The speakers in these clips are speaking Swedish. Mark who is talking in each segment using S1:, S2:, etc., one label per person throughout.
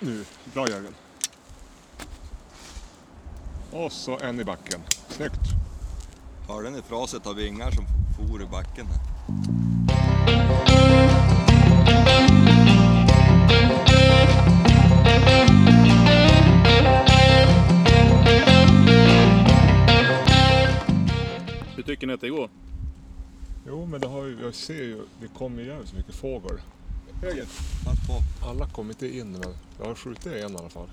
S1: Nu, bra Jörgen. Och så en i backen. Snyggt.
S2: Hörde ni fraset av vingar som for i backen?
S3: Hur tycker ni att det går?
S1: Jo, men det har ju, jag ser ju, det kommer ju jävligt mycket fågel. Höger.
S2: Pass på.
S1: Alla kom inte in, men jag har skjutit en i alla fall.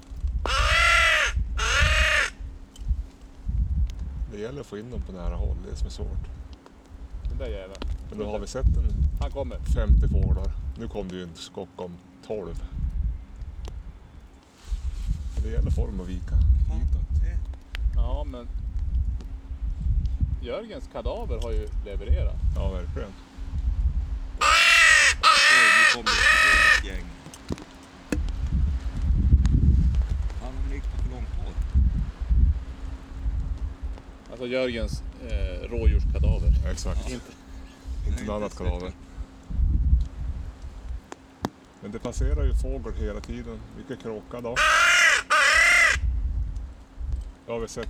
S1: Det gäller att få in dem på nära håll, det är det som är svårt.
S3: Den där jäveln.
S1: Men då har vi sett en
S3: Han kommer.
S1: 50 fåglar. Nu kom det ju en skock om 12. Det gäller form och vika. Hitåt.
S3: Ja, men... Jörgens kadaver har ju levererat.
S1: Ja, verkligen.
S2: Oj, nu kommer det ett gäng. Han har gick på för långt håll.
S3: Alltså Jörgens eh, rådjurskadaver.
S1: Exakt.
S3: Inte-
S1: Inte något annat kadaver. Men det passerar ju fågel hela tiden. Vilka kråka då? Jag har väl sett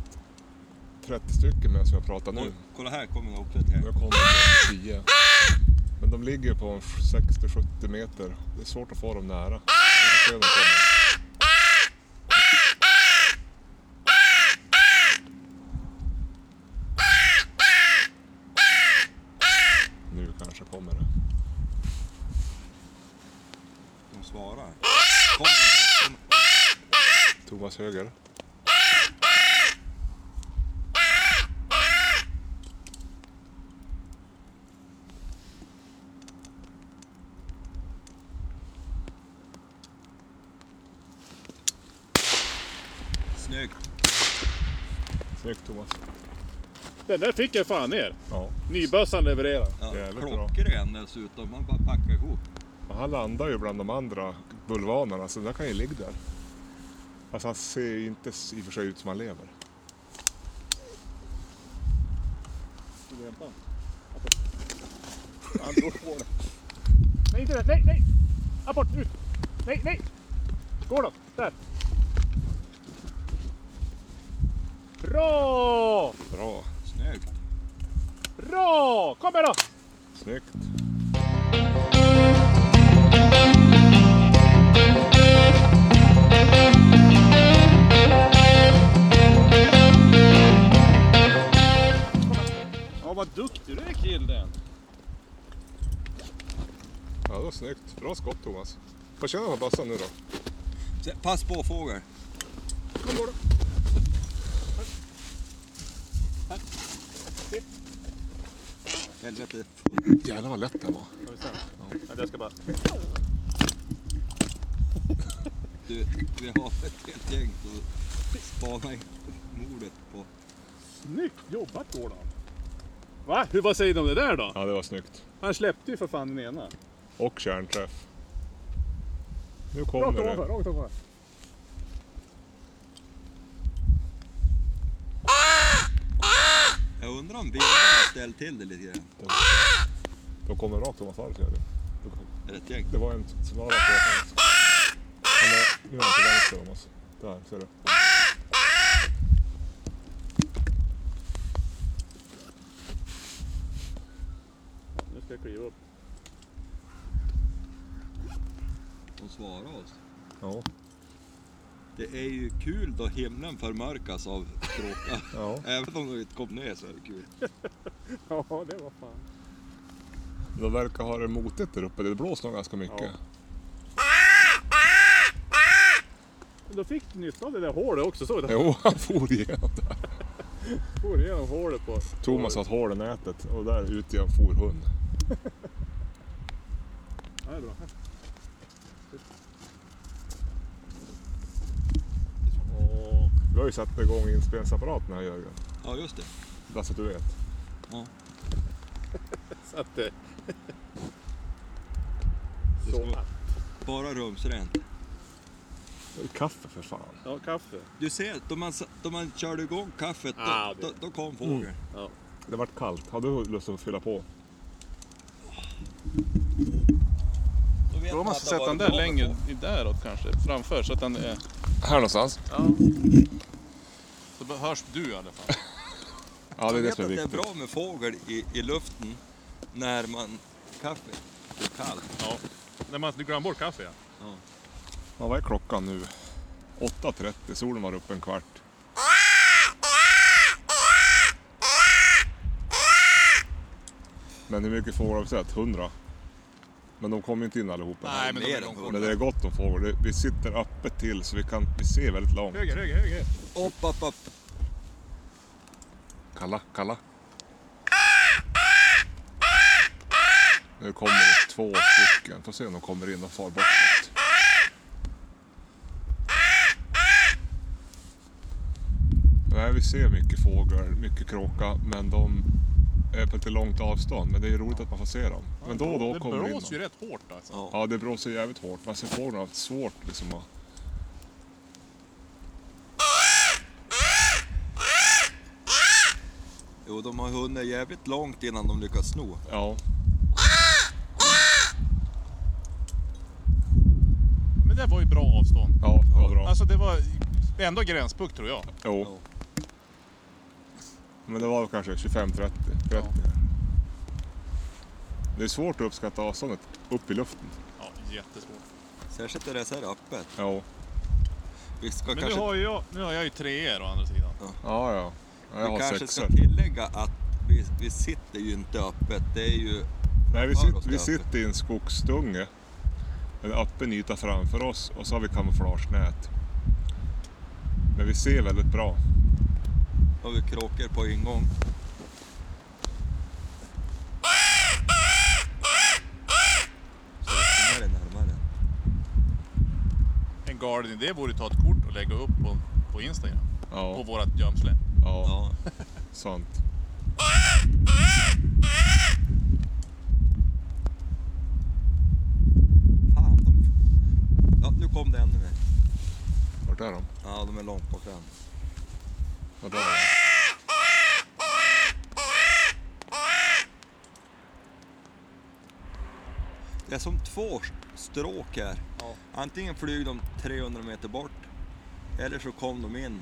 S1: 30 stycken medan vi har pratat nu.
S2: Oj, kolla här kommer en oplet här.
S1: Jag kommer på 10. Men de ligger på en 60-70 meter. Det är svårt att få dem nära. Vi får se om de kommer. Nu kanske kommer det.
S2: De svarar. Kommer den här, kommer-
S1: Thomas Höger.
S2: Snyggt.
S1: Snyggt Thomas.
S3: Den där fick jag fan ner.
S1: Ja,
S3: Nybössan levererar.
S2: Ja,
S1: Jävligt bra.
S2: klockren dessutom. Man bara packar ihop.
S1: men han landar ju bland de andra bulvanerna så den kan ju ligga där. Fast han ser ju inte i och för sig ut som han lever.
S3: Vill du hämta den? Han drog på den. Nej, inte där. Nej, nej! Abort, ut! Nej, nej! Går då? Där! Bra!
S1: Bra.
S2: Snyggt.
S3: Bra! Kom här då!
S1: Snyggt.
S3: Ja, vad duktig du är killen!
S1: Ja, det var snyggt. Bra skott Thomas. Får känna på bössan nu då.
S2: Se, Pass på fågel.
S3: Kom går då!
S2: Helvete.
S1: Jävlar vad lätt den var.
S3: Ska vi se. Vänta, jag ska bara...
S2: Du, vi har ett helt gäng att spana in mordet på.
S3: Snyggt jobbat Gordon! Va? Hur, vad säger du om det där då?
S1: Ja, det var snyggt.
S3: Han släppte ju för fan den ena.
S1: Och kärnträff. Nu kommer
S3: Rakt
S1: det.
S3: ovanför, rakt ovanför.
S2: Jag undrar om vindarna har ställt till det lite grann.
S1: De kommer rakt ovanför allt gör det.
S2: Är det ett gäng?
S1: Det var en som var rakt ovanför. Han är- Nu är han till vänster om oss. Där, ser du.
S3: Nu ska jag kliva upp.
S2: De svarar oss.
S1: Ja.
S2: Det är ju kul då himlen förmörkas av kråka.
S1: ja.
S2: Även om de inte kom ner så är det kul.
S3: Ja, det var fan.
S1: De verkar ha det motigt där uppe. Det blåser nog ganska mycket.
S3: Men då fick du nytta av det där hålet också, såg du?
S1: Jo, han for igenom där.
S3: For igenom hålet på...
S1: Thomas har ett hål i nätet och där ute jag for hund.
S3: Ja, det är bra. Åh,
S1: Du har ju satt igång inspelningsapparaten här Jörgen.
S2: Ja just det.
S1: Bara så att du vet.
S3: Så att det...
S2: det
S3: Så.
S2: ska bara rumsrent.
S1: Kaffe för fan.
S3: Ja, kaffe.
S2: Du ser, då man, sa- då man körde igång kaffet då,
S3: Ah, det-
S2: då, då kom fågeln.
S1: Det vart kallt. Har du lust att fylla på?
S2: Då vet
S4: Då
S2: man
S4: måste
S2: att det har
S4: sätta den
S2: varit
S4: där
S2: bra
S4: längre
S2: before.
S4: i däråt kanske, framför så att den är...
S1: Här någonstans?
S4: Ja. Så hörs du i alla fall.
S1: Ja, det är
S2: Man
S1: det
S2: vet
S1: som
S2: att
S1: är
S2: det är
S1: viktigt.
S2: bra med fågel i, i luften när man kaffet är kallt.
S3: Ja. När man glömmer bort kaffe ja.
S1: Ja, vad är klockan nu? 8.30, solen var uppe en kvart. Men hur mycket fåglar har vi sett? 100? Men de kommer ju inte in allihopa.
S3: Nej, men de
S2: mer
S3: är
S2: än
S3: långt bort.
S1: Men det är gott om fåglar. Det- Vi sitter öppet till så vi kan vi ser väldigt långt.
S3: Höger, höger, höger.
S2: Upp, upp, upp.
S1: Kalla, kalla. Nu kommer det två stycken. Får se om de kommer in och far bortåt. Nej, vi ser mycket fåglar, mycket kråka, men de är på lite långt avstånd. Men det är ju roligt att man får se dem. Men då och då
S3: det
S1: kommer det in
S3: blåser ju
S1: någon.
S3: rätt hårt alltså.
S2: Ja.
S1: Ja, det blåser jävligt hårt. Man ser fåglarna har svårt liksom att...
S2: Jo, de har hunnit jävligt långt innan de lyckas sno.
S1: Ja.
S3: Men det var ju bra avstånd.
S1: Ja, det var bra.
S3: Alltså det var ändå gränspuck tror jag.
S1: Jo. Men det var kanske 25-30. 30. Det är svårt att uppskatta avståndet upp i luften.
S3: Ja, jättesvårt.
S2: Särskilt när det är så här öppet.
S1: Ja,
S2: Vi ska
S3: Men nu
S2: kanske,
S3: har, ju jag, nu har jag ju treor å andra sidan.
S1: ja. ja. Ja, Jag
S2: vi
S1: har
S2: kanske
S1: sexor.
S2: ska tillägga att vi, vi sitter ju inte öppet. Det är ju...
S1: Nej, vi,
S2: kvar
S1: sit,
S2: oss
S1: vi
S2: där
S1: sitter i en skogsdunge. En öppen yta framför oss och så har vi kamouflagenät. Men vi ser väldigt bra.
S2: Har vi kråkor på ingång. Så det är närmare.
S3: En garden idé vore att ta ett kort och lägga upp på, på Instagram. På
S1: Ja,
S3: vårat gömsle.
S1: ja,
S2: Ja.
S1: sant.
S2: Fan, de... Ja, nu kom det ännu mer.
S1: Vart är de?
S2: Ja, de är långt bort än.
S1: Ja, där är de.
S2: Det är som två stråk här. Antingen flyger de 300 meter bort eller så kom de in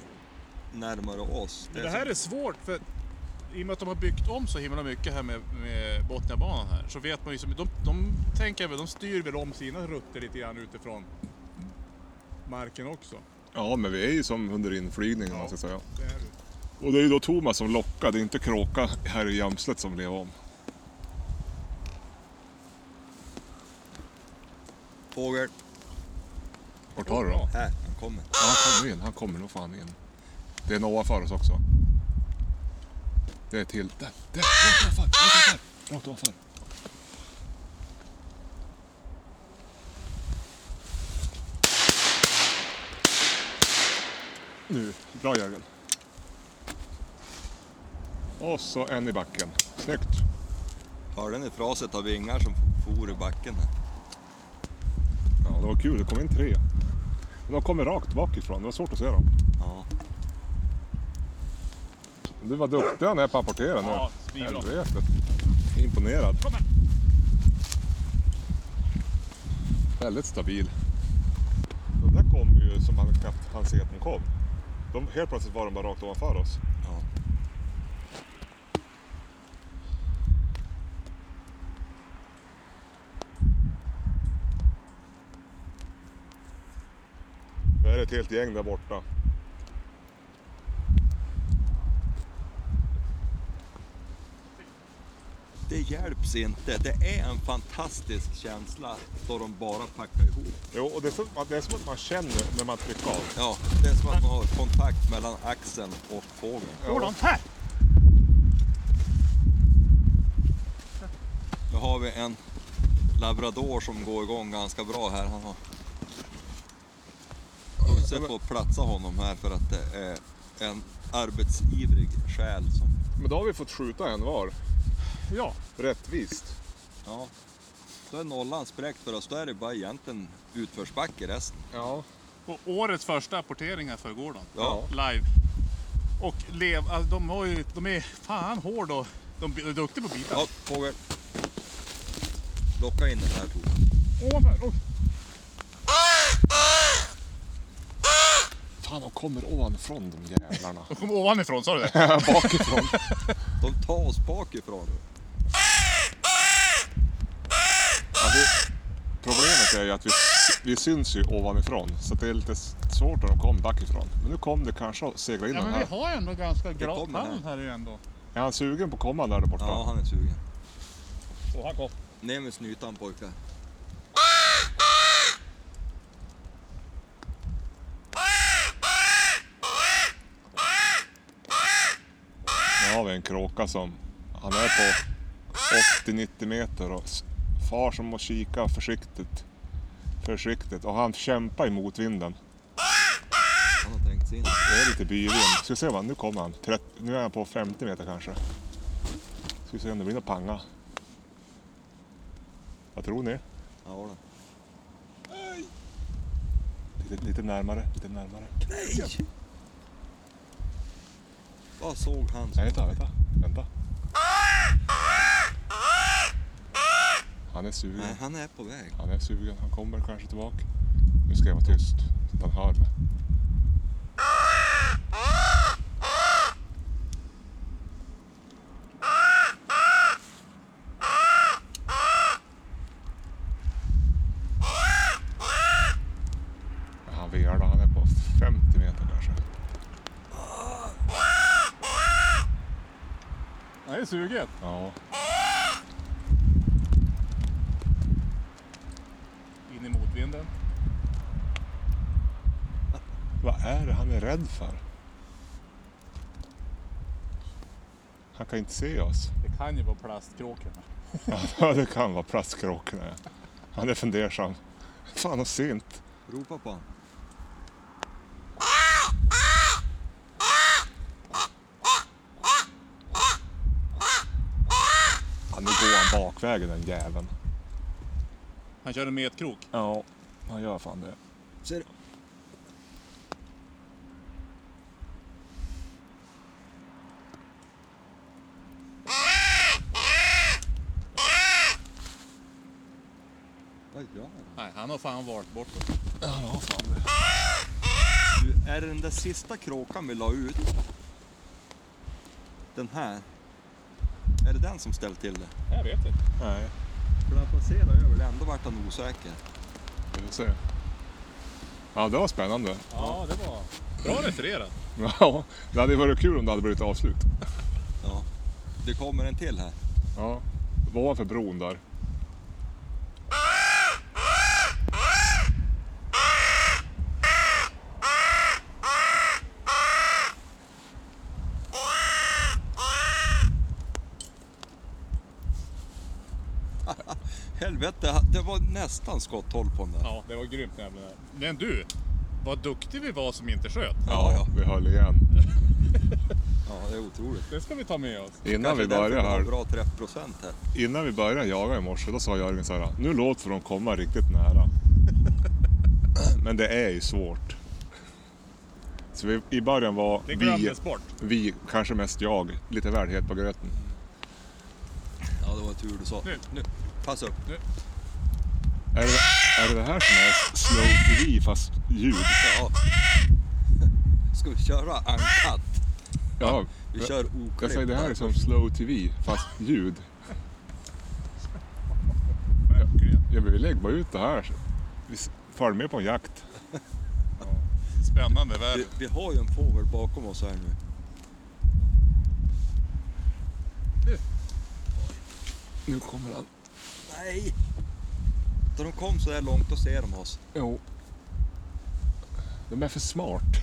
S2: närmare oss.
S3: Men det här är svårt för i och med att de har byggt om så himla mycket här med, med Botniabanan här så vet man ju som, de, de tänker väl, de styr väl om sina rutter lite grann utifrån marken också.
S1: Ja, men vi är ju som under inflygningen om man ska säga.
S3: Det är-
S1: Och det är ju då Thomas som lockar, det är inte kråka här i gömslet som blev om.
S2: som fågel.
S1: Vart har du dem?
S2: Här, han kommer.
S1: Ja, han kommer in. Han kommer nog fan in. Det är en ovanför oss också. Det är till. Där, där, rakt ovanför, rakt ovanför, rakt ovanför. Nu, bra Jörgen. Och så en i backen. Snyggt.
S2: Hörde ni fraset av vingar som for i backen? Här?
S1: Ja, det var kul. Det kom in tre. Men de kommer rakt bakifrån. Det var svårt att se dem.
S2: Ja.
S1: Du var duktig han är på att apportera nu.
S3: Ja, svinbra.
S1: Helvete. Imponerad.
S3: Kom här.
S1: Väldigt stabil. Den där kom ju som han knappt hann se att den kom. De, helt plötsligt var de bara rakt ovanför oss.
S2: ja.
S1: Det är ett helt gäng där borta.
S2: Det hjälps inte. Det är en fantastisk känsla då de bara packar ihop.
S1: Jo, och det är, som, att- det är som att man känner när man trycker av.
S2: Ja, det är som att man har kontakt mellan axeln och fågeln.
S5: Går de? Här!
S2: Nu har vi en labrador som går igång ganska bra här. Han har... Husse får platsa honom här för att det är en arbetsivrig själ som...
S1: Men då har vi fått skjuta en var.
S5: Ja.
S1: Rättvist.
S2: Ja. Då är nollan spräckt för oss. Då är det bara egentligen utförsbacke resten.
S1: Ja.
S3: Och årets första apportering här för gården.
S2: Ja.
S3: Live. Och lev, alltså, de, har ju, de är fan hårda och de är duktiga på bitar.
S2: Ja, fågel. Locka in den här Tove.
S5: Ovanför! Oj.
S1: Fan, de kommer ovanifrån de jävlarna.
S3: De kom ovanifrån, sa du det?
S1: Bakifrån.
S2: De tar oss bakifrån.
S1: Ja, vi, problemet är ju att vi, vi syns ju ovanifrån, så det är lite s- svårt när de kom bakifrån. Men nu kom det kanske att segla in
S3: Ja,
S1: den
S3: men vi
S1: här.
S3: har ju ändå ganska grått
S2: kommer här.
S3: hamn här ju ändå.
S1: Är han sugen på att komma där borta?
S2: Ja, han är sugen.
S5: Och han kom.
S2: Ner med snytan pojkar.
S1: Nu har vi en kråka som, han är på 80-90 meter och s- far som måste kika försiktigt. Försiktigt. Och han kämpar i motvinden.
S2: Han har trängt sig in.
S1: Det är lite byvind. Ska vi se vad, nu kommer han. Trett- Nu är han på 50 meter kanske. Ska vi se om det blir någon panga. Vad tror ni?
S2: Ja, då.
S1: Lite, lite närmare, lite närmare.
S2: Vad såg han?
S1: Nej, vänta, vänta. vänta. Han är sugen.
S2: Nej, han är på väg.
S1: Han är sugen. Han kommer kanske tillbaka. Nu ska jag vara tyst så att han hör mig. Men Han velar. Han är på 50 meter kanske.
S3: Nej, det är suget.
S1: Ja.
S3: In i motvinden.
S1: Vad är det han är rädd för? Han kan inte se oss.
S3: Det kan ju vara plastkråkorna.
S1: Ja, det kan vara plastkråkorna. ja. Han är fundersam. Fan vad sent.
S2: Ropa på honom.
S1: Ja, nu går han bakvägen den jäveln.
S3: Han kör en metkrok.
S1: Ja, han gör fan det.
S2: Ser du? Vad gör han?
S3: Nej, han har fan valt bort oss.
S2: Du, är det den där sista kråkan vi la ut? Den här? Är det den som ställt till det?
S3: Jag vet inte.
S1: Nej,
S2: För han passerade över det, ändå vart han osäker.
S1: vi får se. Ja, det var spännande.
S3: Ja, det var... Bra refererat.
S1: Ja, det hade varit kul om det hade blivit avslut.
S2: Ja. Det kommer en till här.
S1: Ja, ovanför bron där.
S2: Helvete, det var nästan skotthåll på den där.
S3: Ja, det var grymt nämligen. Men du, vad duktig vi var som inte sköt.
S2: Ja, ja.
S1: Vi höll igen.
S2: ja det är otroligt.
S3: Det ska vi ta med oss.
S1: Innan vi
S2: Kanske därför
S1: började
S2: vi har
S1: här,
S2: bra träffprocent här.
S1: innan vi började jaga i morse, då sa Jörgen så här, nu låter de komma riktigt nära. Men det är ju svårt. Så vi, i början var vi,
S3: Det glömdes bort.
S1: vi, kanske mest jag, lite väl het på gröten.
S2: Ja, det var tur du sa.
S3: Nu.
S2: nu. Pass upp.
S1: Är det, är det det här som är slow TV fast ljud?
S2: Ja. Ska vi köra uncut?
S1: Ja,
S2: Vi kör
S1: jag säger
S2: oklippt.
S1: det här är som slow TV fast ljud.
S3: Verkligen.
S1: Jag vill lägga bara ut det här. Vi s- följer med på en jakt.
S3: Spännande värld.
S2: Vi, vi har ju en fågel bakom oss här nu.
S1: Nu kommer han.
S2: Nej! Då de kom så här långt, då ser de oss.
S1: Jo. De är för smart.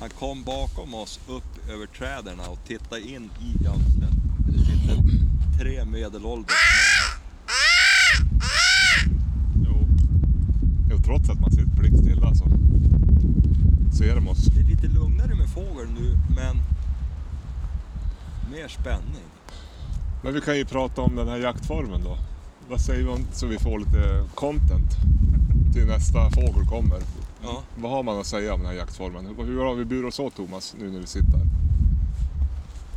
S2: Han kom bakom oss upp över träden och tittade in i jamsen. Det sitter tre medelålders män.
S1: Jo. jo trots att man sitter blickstilla alltså. så ser de oss.
S2: Det är lite lugnare med fågel nu, men mer spänning.
S1: Men vi kan ju prata om den här jaktformen då. Vad säger vi om så vi får lite content till nästa fågel kommer?
S2: Ja.
S1: Vad har man att säga om den här jaktformen? Hur- Hur har vi burit oss åt Thomas nu när vi sitter här?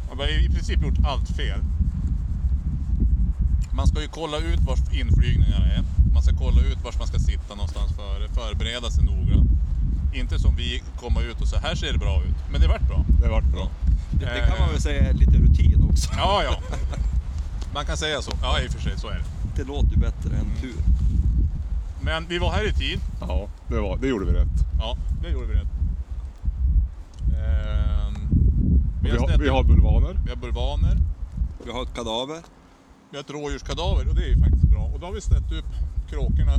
S3: Man har i princip gjort allt fel. Man ska ju kolla ut var inflygningarna är. Man ska kolla ut var man ska sitta någonstans före, förbereda sig noggrant. Inte som vi, komma ut och så här ser det bra ut. Men det vart bra.
S1: Det vart bra.
S2: Det, det kan
S3: Eh.
S2: man väl säga är lite rutin också.
S3: Ja, ja. Man kan säga så. Ja, i och för sig, så är det.
S2: Det låter ju bättre än
S3: Mm.
S2: tur.
S3: Men vi var här i tid.
S1: Ja, det, var, det gjorde vi rätt.
S3: Ja, det gjorde vi rätt. Ehm, vi,
S1: Vi
S3: har
S1: har,
S3: snett-
S1: vi har bulvaner.
S3: vi har bulvaner.
S2: Vi har ett kadaver.
S3: Vi har ett rådjurskadaver och det är ju faktiskt bra. Och då har vi snett upp kråkorna,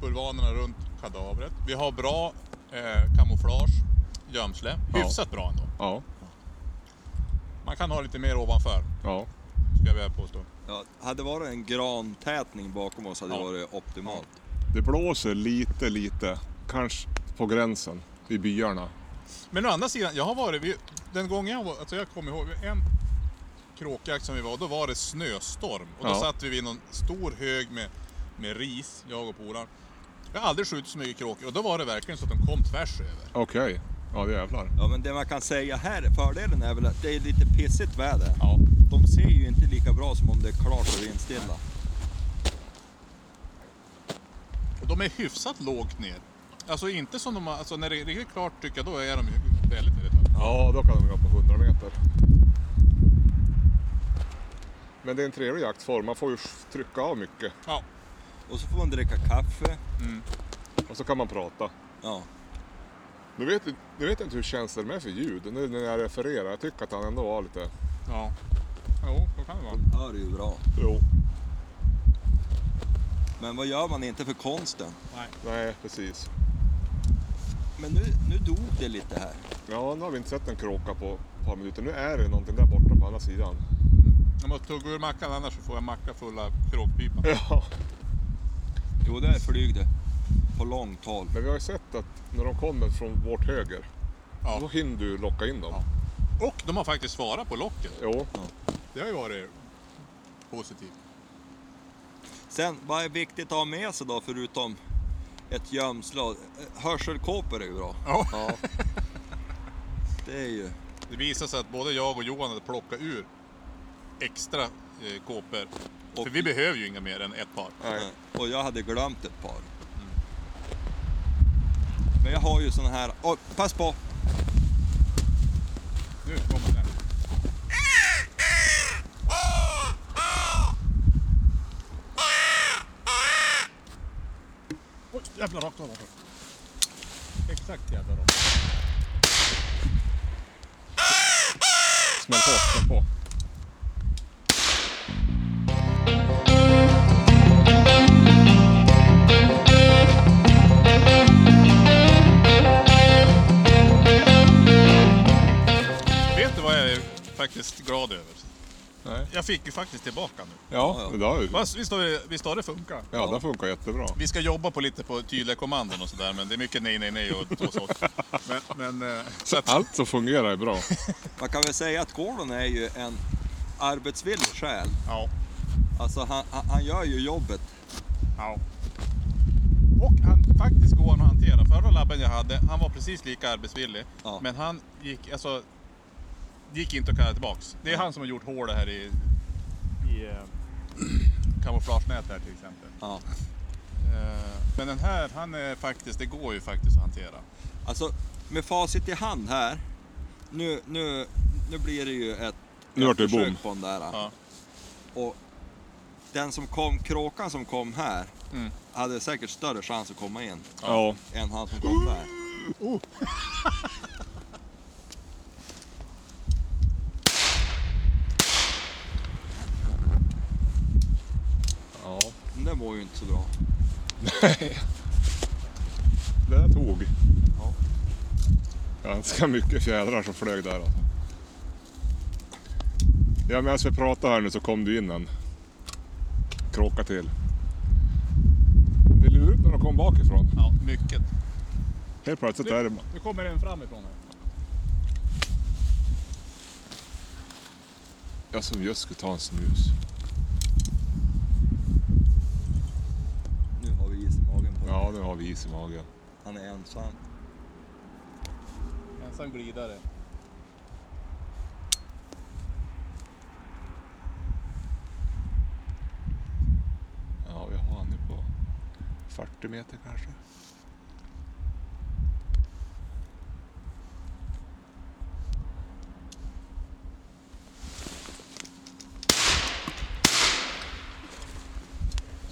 S3: bulvanerna runt kadavret. Vi har bra eh, kamouflage, gömsle.
S1: Ja.
S3: Hyfsat bra ändå.
S1: Ja,
S3: Man kan ha lite mer ovanför,
S1: ja.
S3: ska jag väl påstå.
S2: Ja, hade det varit en grantätning bakom oss hade det
S3: Ja.
S2: varit optimalt.
S1: Det blåser lite, lite. Kanske på gränsen i byarna.
S3: Men å andra sidan, jag har varit, vi, den gången jag var, alltså jag kommer ihåg en kråkjakt som vi var, då var det snöstorm. Och då
S1: Ja.
S3: satt vi vid någon stor hög med, med ris, jag och polaren. Jag har aldrig skjutit så mycket kråkor och då var det verkligen så att de kom tvärs över.
S1: Okej. Ja, det jävlar.
S2: Ja, men det man kan säga här, fördelen är väl att det är lite pissigt väder.
S3: Ja.
S2: De ser ju inte lika bra som om det är klart och vindstilla.
S3: Och de är hyfsat lågt ner. Alltså inte som de har, alltså när det är riktigt klart tycker jag, då är de ju väldigt, väldigt höga.
S1: Ja, då kan de gå på 100 meter. Men det är en trevlig jaktform. Man får ju trycka av mycket
S3: Ja.
S2: Och så får man dricka kaffe.
S1: och så kan man prata.
S2: Ja.
S1: Nu vet, nu vet jag inte hur känns det med för ljud nu när jag refererar. Jag tycker att han ändå var lite...
S3: Ja. Jo, så kan det vara.
S2: Hör ju bra.
S1: Jo.
S2: Men vad gör man inte för konsten?
S1: Nej, precis.
S2: Men nu, nu dog det lite här.
S1: Ja, nu har vi inte sett en kråka på ett par minuter. Nu är det någonting där borta på andra sidan.
S3: Jag måste tugga ur mackan annars så får jag macka full av kråkpipa.
S1: Ja.
S2: Jo, där flyg det. På långt håll.
S1: Men vi har ju sett att när de kommer från vårt höger,
S3: Ja.
S1: då hinner du locka in dem.
S3: Ja. Och de har faktiskt svarat på locket.
S1: Jo,
S3: Det har ju varit positivt.
S2: Sen, vad är viktigt att ha med sig då, förutom ett gömsle? och- Hörselkåpor är ju bra.
S3: Ja.
S2: Det är ju...
S3: Det visade sig att både jag och Johan hade plockat ur extra eh, kåpor. För
S2: Och-
S3: vi behöver ju inga mer än ett par.
S1: nej.
S2: Och jag hade glömt ett par. Men jag har ju sån här... Oj, pass på!
S3: Nu kommer den.
S5: Oj, jävlar rakt ovanför.
S3: alltså. Exakt jävla dem.
S1: Smäll på, smäll på.
S3: Vet du vad jag är faktiskt glad över?
S1: Nej.
S3: Jag fick ju faktiskt tillbaka nu.
S1: Ja, det där,
S3: Va, Visst har, det- visst har det funkat?
S1: ja, det funkar jättebra.
S3: Vi ska jobba på lite på tydliga kommandon och sådär, men det är mycket nej, nej, nej och två sånt. Men, men eh, så att,
S1: Allt som fungerar är bra.
S2: Man kan väl säga att Gordon är ju en arbetsvillig själ.
S3: ja,
S2: Alltså han, han, han gör ju jobbet.
S3: ja. Och han faktiskt går han att hantera. Förra labben jag hade, han var precis lika arbetsvillig.
S2: Ja.
S3: Men han gick, alltså, gick inte att kalla tillbaks. Det är han som har gjort hål här i
S5: I, eh,
S3: kamouflagenät här till exempel.
S2: Ja.
S3: Eh, Men den här, han är faktiskt, det går ju faktiskt att hantera.
S2: Alltså med facit i hand här. Nu, nu, nu blir det ju ett,
S1: Nu vart det
S2: ett försök
S1: bom.
S2: på den där.
S3: Ja.
S2: Och den som kom, kråkan som kom här
S3: Mm.
S2: hade säkert större chans att komma in
S1: Ja.
S2: än han som kom där.
S1: ja.
S2: Den där mår ju inte så bra.
S1: Det där tog.
S2: Ja.
S1: Ganska mycket fjädrar som flög där. Alltså. Ja, medan vi pratade här nu så kom du in en kråka till. Det är lurigt när de kom bakifrån.
S3: Ja, mycket.
S1: Helt plötsligt är det...
S3: Nu kommer en framifrån här.
S1: Jag som just skulle ta en snus.
S2: Nu har vi is i magen på
S1: Ja, nu har vi is i magen.
S2: Han är ensam.
S3: Ensam glidare.
S1: Ja, vi har han nu på... 40 meter kanske.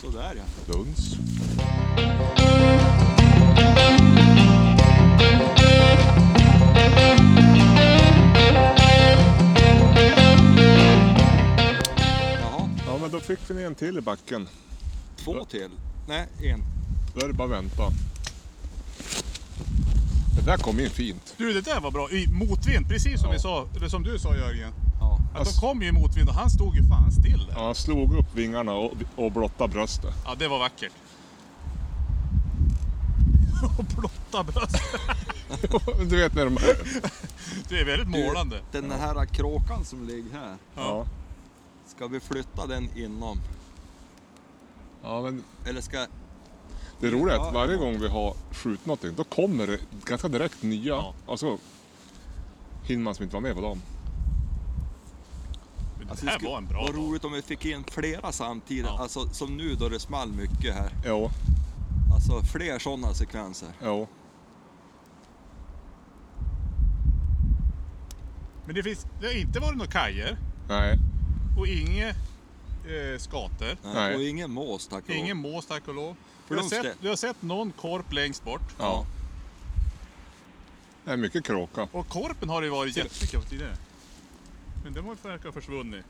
S2: Sådär ja.
S1: Duns.
S2: Jaha,
S1: Ja men då fick vi ner en till i backen.
S2: två till. Nej, en.
S1: Då är det bara att vänta. Det där kom in fint.
S3: Du, det där var bra. I motvind, precis som vi sa, eller som du sa Jörgen.
S2: Ja.
S3: Att de kom ju i motvind och han stod ju fan still där.
S1: Ja, han slog upp vingarna och, och blottade bröstet.
S3: Ja, det var vackert. Och blotta bröst.
S1: du vet när de...
S3: Det är väldigt målande.
S2: Den här kråkan som ligger här,
S1: Ja.
S2: ska vi flytta den inom?
S1: ja men
S2: Eller ska...
S1: det roliga är att varje gång vi har skjutit någonting då kommer det ganska direkt nya.
S3: Ja.
S1: Och så hinner man som inte var med på dem.
S3: Men
S2: alltså,
S3: det här
S2: skulle-
S3: var en bra
S2: Vad
S3: dag.
S2: roligt om vi fick in flera samtidigt.
S3: Ja.
S2: Alltså som nu då det small mycket här.
S1: Ja,
S2: Alltså fler sådana sekvenser.
S1: ja.
S3: Men det, finns, det har inte varit några kajer
S1: Nej,
S3: och inga eh, skator.
S2: Nej.
S1: Nej.
S2: Och ingen mås tack och lov.
S3: Ingen mås tack och lov. Du har,
S2: Blomstedt.
S3: sett, du har sett någon korp längst bort.
S1: ja. Det är mycket kråka.
S3: Och korpen har det ju varit jättemycket av tidigare. Men den verkar ha försvunnit.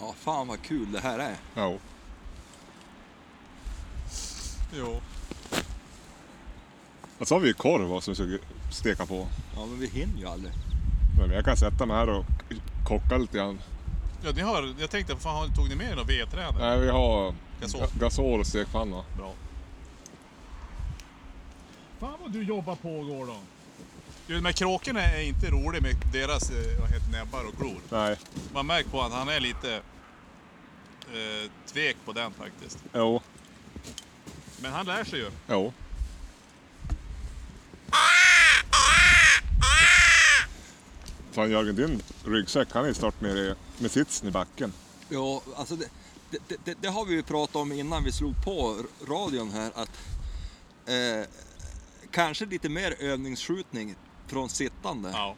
S2: Ja, fan vad kul det här är.
S1: Ja.
S3: Jo.
S1: Och så har vi ju korv va, som vi ska steka på.
S2: Ja, men vi hinner ju aldrig.
S1: Men jag kan sätta mig här och kocka lite grann.
S3: Ja, ni har, jag tänkte, fan har- tog ni med er några vedträd?
S1: Nej, vi har
S3: Gasol.
S1: gasol och stekpanna.
S3: Bra.
S5: Fan vad du jobbar på Gordon.
S3: Du, de här kråkorna är inte rolig med deras eh, vad heter, näbbar och klor.
S1: Nej,
S3: Man märker på att han är lite eh, tvek på den faktiskt.
S1: jo,
S3: Men han lär sig ju.
S1: jo. Fan Jörgen, din ryggsäck han är ju snart nere i- med sitsen i backen.
S2: Ja, alltså det, det, det- det, det har vi ju pratat om innan vi slog på r- radion här att eh, kanske lite mer övningsskjutning från sittande.
S3: Ja,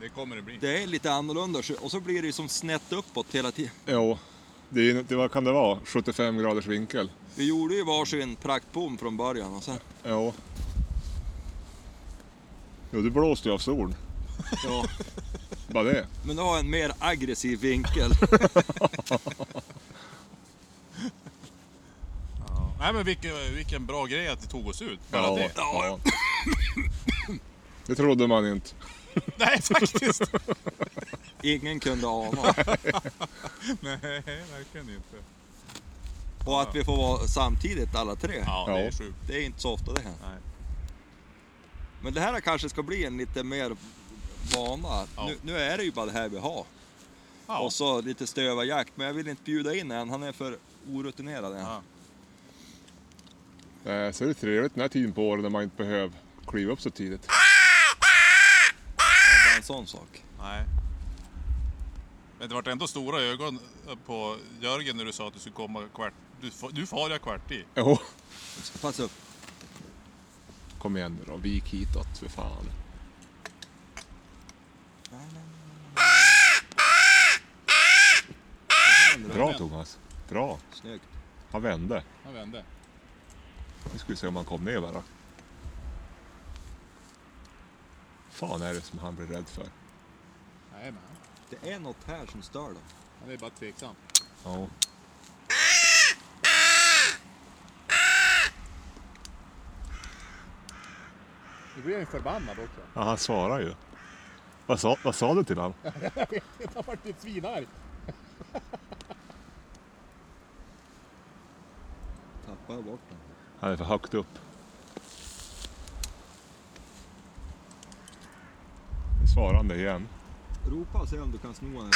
S3: det kommer det bli.
S2: Det är lite annorlunda så- och så blir det ju som snett uppåt hela tiden.
S1: Jo, det, är ju- det, vad kan det vara? 75 graders vinkel?
S2: Vi gjorde ju varsin praktbom från början och sen,
S1: Jo. Jo, du blåste ju av sol.
S2: ja,
S1: Bara det.
S2: men det har en mer aggressiv vinkel.
S3: Ja. Nej, men vilken, vilken bra grej att det tog oss ut. Bara
S1: Ja,
S3: det.
S1: ja. Det trodde man inte.
S3: Nej, faktiskt.
S2: Ingen kunde ana.
S3: Nej, verkligen inte.
S2: Och att vi får vara samtidigt alla tre.
S3: Ja, det
S1: Ja.
S3: är sjukt.
S2: Det är inte så ofta det händer.
S3: Nej.
S2: Men det här kanske ska bli en lite mer vana.
S3: Ja.
S2: Nu, nu är det ju bara det här vi har.
S3: Ja.
S2: Och så lite stövarjakt, men jag vill inte bjuda in en. Han är för orutinerad än.
S3: Ja.
S1: Eh, Så är det trevligt den här tiden på året när man inte behöver kliva upp så tidigt.
S2: Ja, bara en sån sak.
S3: Nej. Men det vart ändå stora ögon på Jörgen när du sa att du skulle komma kvart... Du, fa- nu far jag kvart i.
S1: Jo.
S2: Pass upp.
S1: Kom igen nu då, vik hitåt för fan. Bra Thomas. Bra.
S2: Snyggt.
S1: Han vände.
S3: Han vände.
S1: Nu ska vi se om han kom ner bara. Fan är det som han blir rädd för?
S3: Nej, men han-
S2: Det är något här som stör dem.
S3: han är bara tveksam.
S1: Ja.
S3: Nu blir jag ju förbannad också.
S1: ja han svarar ju. Vad sa, vad sa du till honom?
S3: Han vart ju svinarg.
S2: Tappar jag bort den.
S1: Han är för högt upp. Nu svarar han det igen.
S2: Ropa och se om du kan sno den.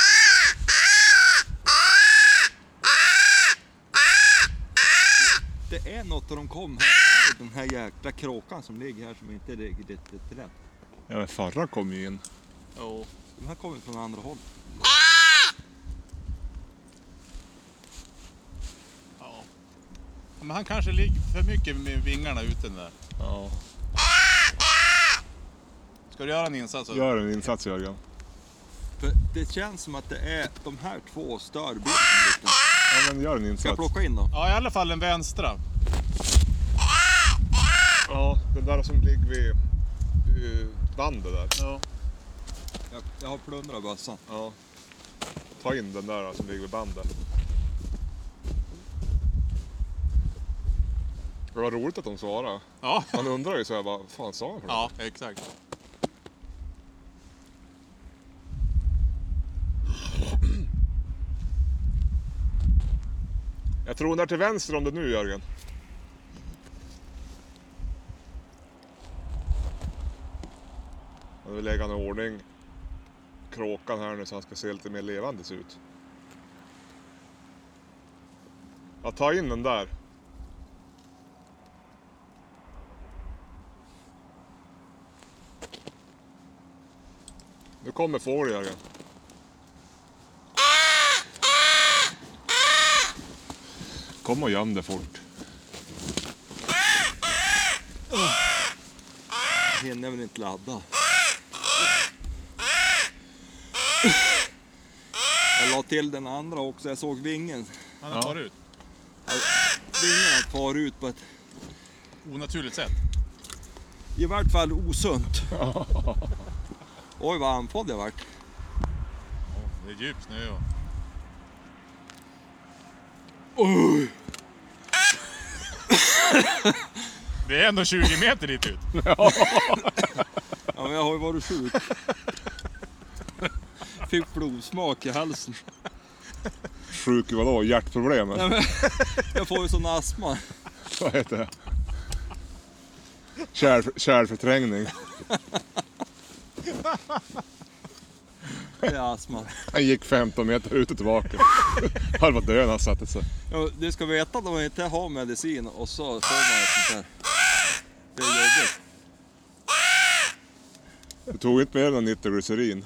S2: Det är något när de kom här. Den här jäkla kråkan som ligger här som inte är riktigt riktigt rätt.
S1: Ja, men förra kom ju in.
S3: Jo.
S2: De här kommer från andra håll.
S3: Men han kanske ligger för mycket med vingarna ute den där.
S1: Ja.
S3: Ska du göra en insats?
S2: Alltså.
S3: så-
S1: Gör en insats Jörgen.
S2: För det känns som att det är de här två stör bilden lite.
S1: Ja, men gör en
S2: Ska jag
S1: insats.
S2: plocka in dem?
S3: Ja, i alla fall den vänstra.
S1: Ja, den där som ligger vid eh, bandet där.
S3: Ja.
S2: Jag, jag har plundrat bössan.
S1: Ja. Ta in den där som ligger vid bandet. Det var roligt att de svarade.
S3: Ja,
S1: Man undrar ju så här, vad fan sa han för något?
S3: ja exakt.
S1: Jag tror den är till vänster om det nu Jörgen. Jag vill lägga i ordning kråkan här nu så han ska se lite mer levandes ut. Ja, ta in den där. Nu kommer fågeln Jörgen. Kom och göm dig fort.
S2: Hinner väl inte ladda. Jag la till den andra också. Jag såg vingen.
S3: Han har farit ut.
S2: Vingarna far ut på ett
S3: Onaturligt sätt.
S2: i vart fall osunt. Oj vad andfådd jag vart.
S3: Det är djupt nu. Och... Det är ändå 20 meter dit ut.
S2: Ja, men jag har ju varit sjuk. Fick blodsmak i halsen.
S1: Sjuk i vadå? Hjärtproblem? eller?
S2: Nej, men, jag får ju sån astma.
S1: Vad heter det? Kärl, kärlförträngning.
S2: Det är astma.
S1: Han gick 15 meter ut och tillbaka. Höll på att dö när han satte sig.
S2: Ja, Du ska veta att om man inte har medicin och så får man ett sånt här. Det är jobbigt.
S1: Det tog inte mer än nitroglycerin.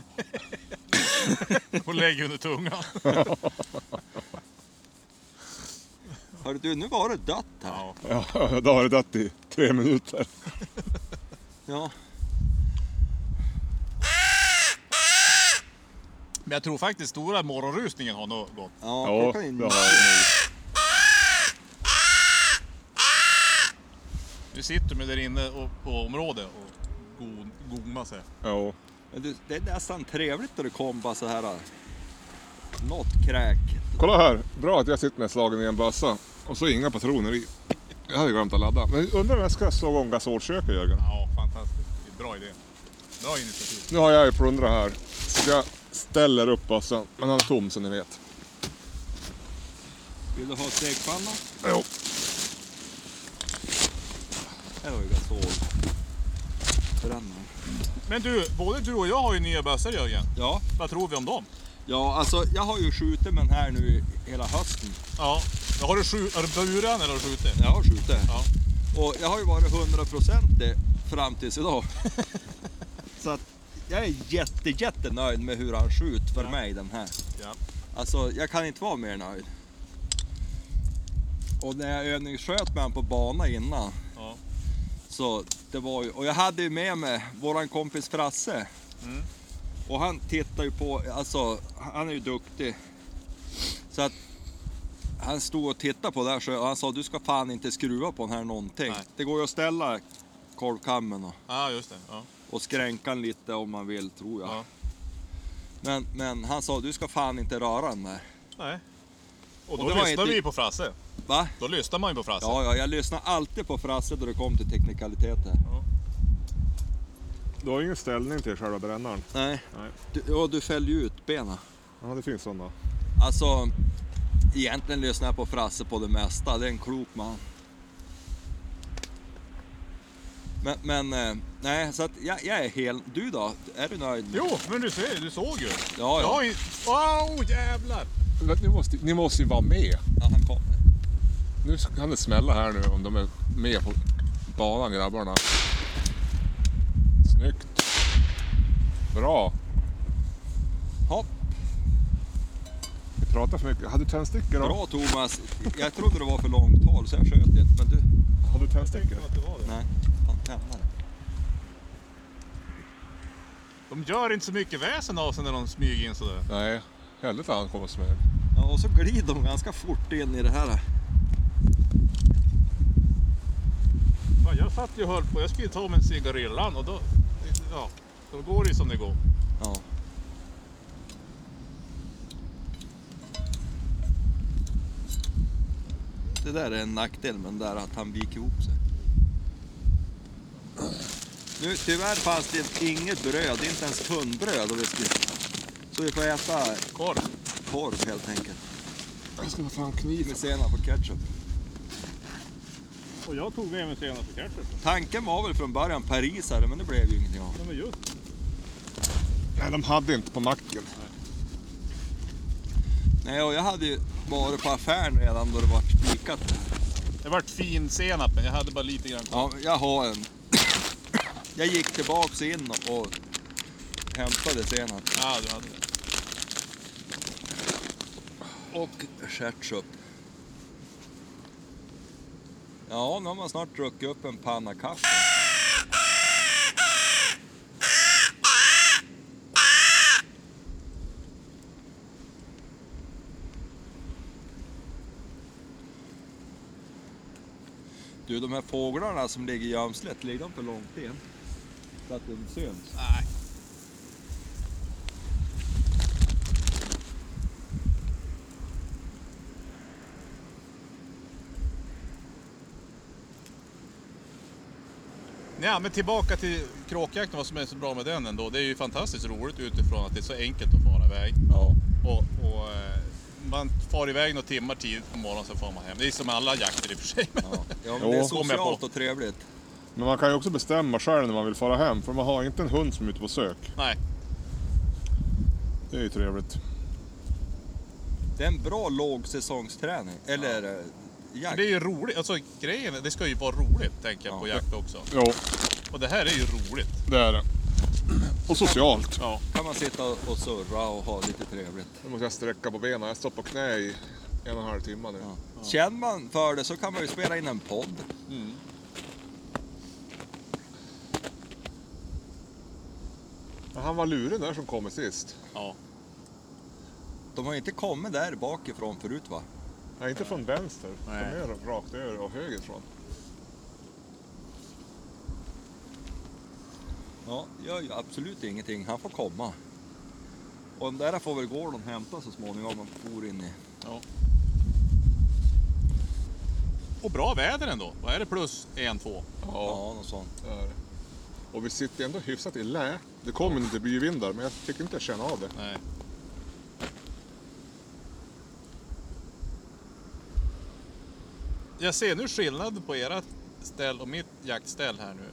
S3: Och lägger under tungan.
S2: Hörru du, nu var det dött här.
S3: Ja.
S1: Ja, då har det dött i tre minuter.
S2: Ja.
S3: Men jag tror faktiskt stora morgonrusningen har nog gått.
S2: Ja,
S1: Ja,
S2: plocka in.
S1: det har det.
S3: Nu sitter man där inne och, på området och god, gomar sig.
S1: Ja,
S2: Men du, det är nästan trevligt när det kom bara så här. äh, Något kräk.
S1: Kolla här, bra att jag sitter med slagen i en bössa. Och så inga patroner i. Jag hade glömt att ladda. Men undrar om jag ska slå igång gasolköket Jörgen?
S3: Ja, fantastiskt. Det är Bra idé. Bra initiativ.
S1: Nu har jag ju plundrat här. Så jag ställer upp bössan. Men han är tom som ni vet.
S2: Vill du ha stekpanna?
S1: Jo.
S2: Här har vi gasol. Bränner.
S3: Men du, både du och jag har ju nya bössor Jörgen.
S2: Ja,
S3: Vad tror vi om dem?
S2: ja alltså jag har ju skjutit med den här nu hela hösten.
S3: Ja. Har du, skju- har du burit den eller har du skjutit?
S2: Jag har skjutit.
S3: Ja.
S2: Och jag har ju varit 100% fram tills idag. Så att jag är jätte, jättenöjd med hur han skjuter för mig den här.
S3: Ja.
S2: Alltså jag kan inte vara mer nöjd. Och när jag övningssköt med honom på bana innan.
S3: Ja.
S2: Så det var ju, och jag hade ju med mig våran kompis Frasse.
S3: Mm.
S2: Och han tittar ju på, alltså han är ju duktig. Så att han stod och tittade på det här så, och han sa du ska fan inte skruva på den här någonting.
S3: Nej.
S2: Det går ju att ställa korvkammen och,
S3: ja, just det. Ja.
S2: och skränkan lite om man vill tror jag.
S3: Ja.
S2: Men, men han sa du ska fan inte röra den där.
S3: Nej. Och då
S2: Och det var
S3: lyssnar
S2: inte-
S3: vi på Frasse.
S2: Va?
S3: Då lyssnar man ju på Frasse.
S2: Ja, ja, jag lyssnar alltid på Frasse då det kom till teknikaliteter.
S1: Du har ingen ställning till själva brännaren?
S2: Nej,
S1: Nej.
S2: du, och du fällde ju ut benen.
S1: Ja, det finns sådana.
S2: Alltså, egentligen lyssnar jag på Frasse på det mesta. Det är en klok man. Men, men eh, nej, så att jag, jag är hel. Du då? Är du nöjd? med-
S3: Jo, men du ser, du såg ju.
S2: Ja, ja.
S3: Jag in... Wow, jävlar!
S1: Ni måste, ni måste ju vara med.
S2: ja han kommer.
S1: Nu kan det smälla här nu om de är med på banan grabbarna. Snyggt. Bra.
S2: Hopp.
S1: Vi prata för mycket. Hade du tändstickor? då?
S2: Bra Thomas, jag trodde det var för långt tal så jag sköt inte. Men du,
S1: Har du tändstickor?
S3: att det var det.
S2: nej. Fan, tändare.
S3: De gör inte så mycket väsen av sig när de smyger in sådär.
S1: Nej, helvete han kommer smög.
S2: Ja, och så glider de ganska fort in i det här.
S3: Fan, jag satt ju och höll på, jag skulle ju ta med cigarillan och då... Ja, då går det ju som det går.
S2: Ja. Det där är en nackdel men där att han viker ihop sig. Nu, tyvärr fanns det inget bröd, inte ens tunnbröd. Och vi skulle... Så vi får äta
S3: Korv.
S2: korv helt enkelt.
S1: Jag ska ta fram kniven.
S2: Med senap och ketchup.
S5: Och jag tog med mig senast på ketchup.
S2: Tanken var väl från början parisare men det blev ju ingenting av.
S5: Ja, men just.
S1: Nej, de hade inte på macken.
S2: Nej, och jag hade ju varit på affären redan då det var spikat.
S3: Det vart fin senap, men jag hade bara lite grann
S2: Ja, jag har en. Jag gick tillbaks in och hämtade senap
S3: Ja, du hade det.
S2: och ketchup. Ja, nu har man snart druckit upp en panna kaffe. Du, de här fåglarna som ligger i gömslet, ligger de för långt in? Så att de syns?
S3: Nej. Ja, men tillbaka till kråkjakten, vad som är så bra med den ändå. Det är ju fantastiskt roligt utifrån att det är så enkelt att fara iväg.
S2: Ja.
S3: Och, och, eh, man far iväg några timmar tidigt på morgonen, sen far man hem. Det är som alla jakter i och för sig.
S2: Ja, ja men det är
S1: Jo,
S3: kom jag på.
S2: socialt och trevligt.
S1: Men man kan ju också bestämma själv när man vill fara hem. För man har inte en hund som är ute på sök.
S3: Nej,
S1: Det är ju trevligt.
S2: Det är en bra lågsäsongsträning, eller eh, jakt.
S3: det är ju roligt. Alltså grejen, är- det ska ju vara roligt tänker jag på
S2: Ja.
S3: jakt också.
S1: Jo,
S3: Och det här är ju roligt.
S1: det är det. Och socialt.
S3: Ja.
S2: kan man sitta och surra och ha lite trevligt.
S1: Nu måste jag sträcka på benen. Jag står på knä i en och en halv timme nu.
S2: Ja. Känner man för det så kan man ju spela in en podd.
S1: Men han var lurig där som kom sist.
S3: ja.
S2: De har ju inte kommit där bakifrån förut va?
S1: Nej, inte från vänster.
S3: Nej.
S1: De är rakt över och högerifrån.
S2: Ja, gör ju absolut ingenting. Han får komma. Och den där får väl Gordon hämta så småningom om han bor in i...
S3: Och bra väder ändå. Vad är det? Plus en, två?
S2: Ja, något sånt.
S1: det är det. Och vi sitter ändå hyfsat i lä. Det kom inte byvindar, men jag tycker inte jag känner av det.
S3: Nej. Jag ser nu skillnad på era ställ och mitt jaktställ här nu.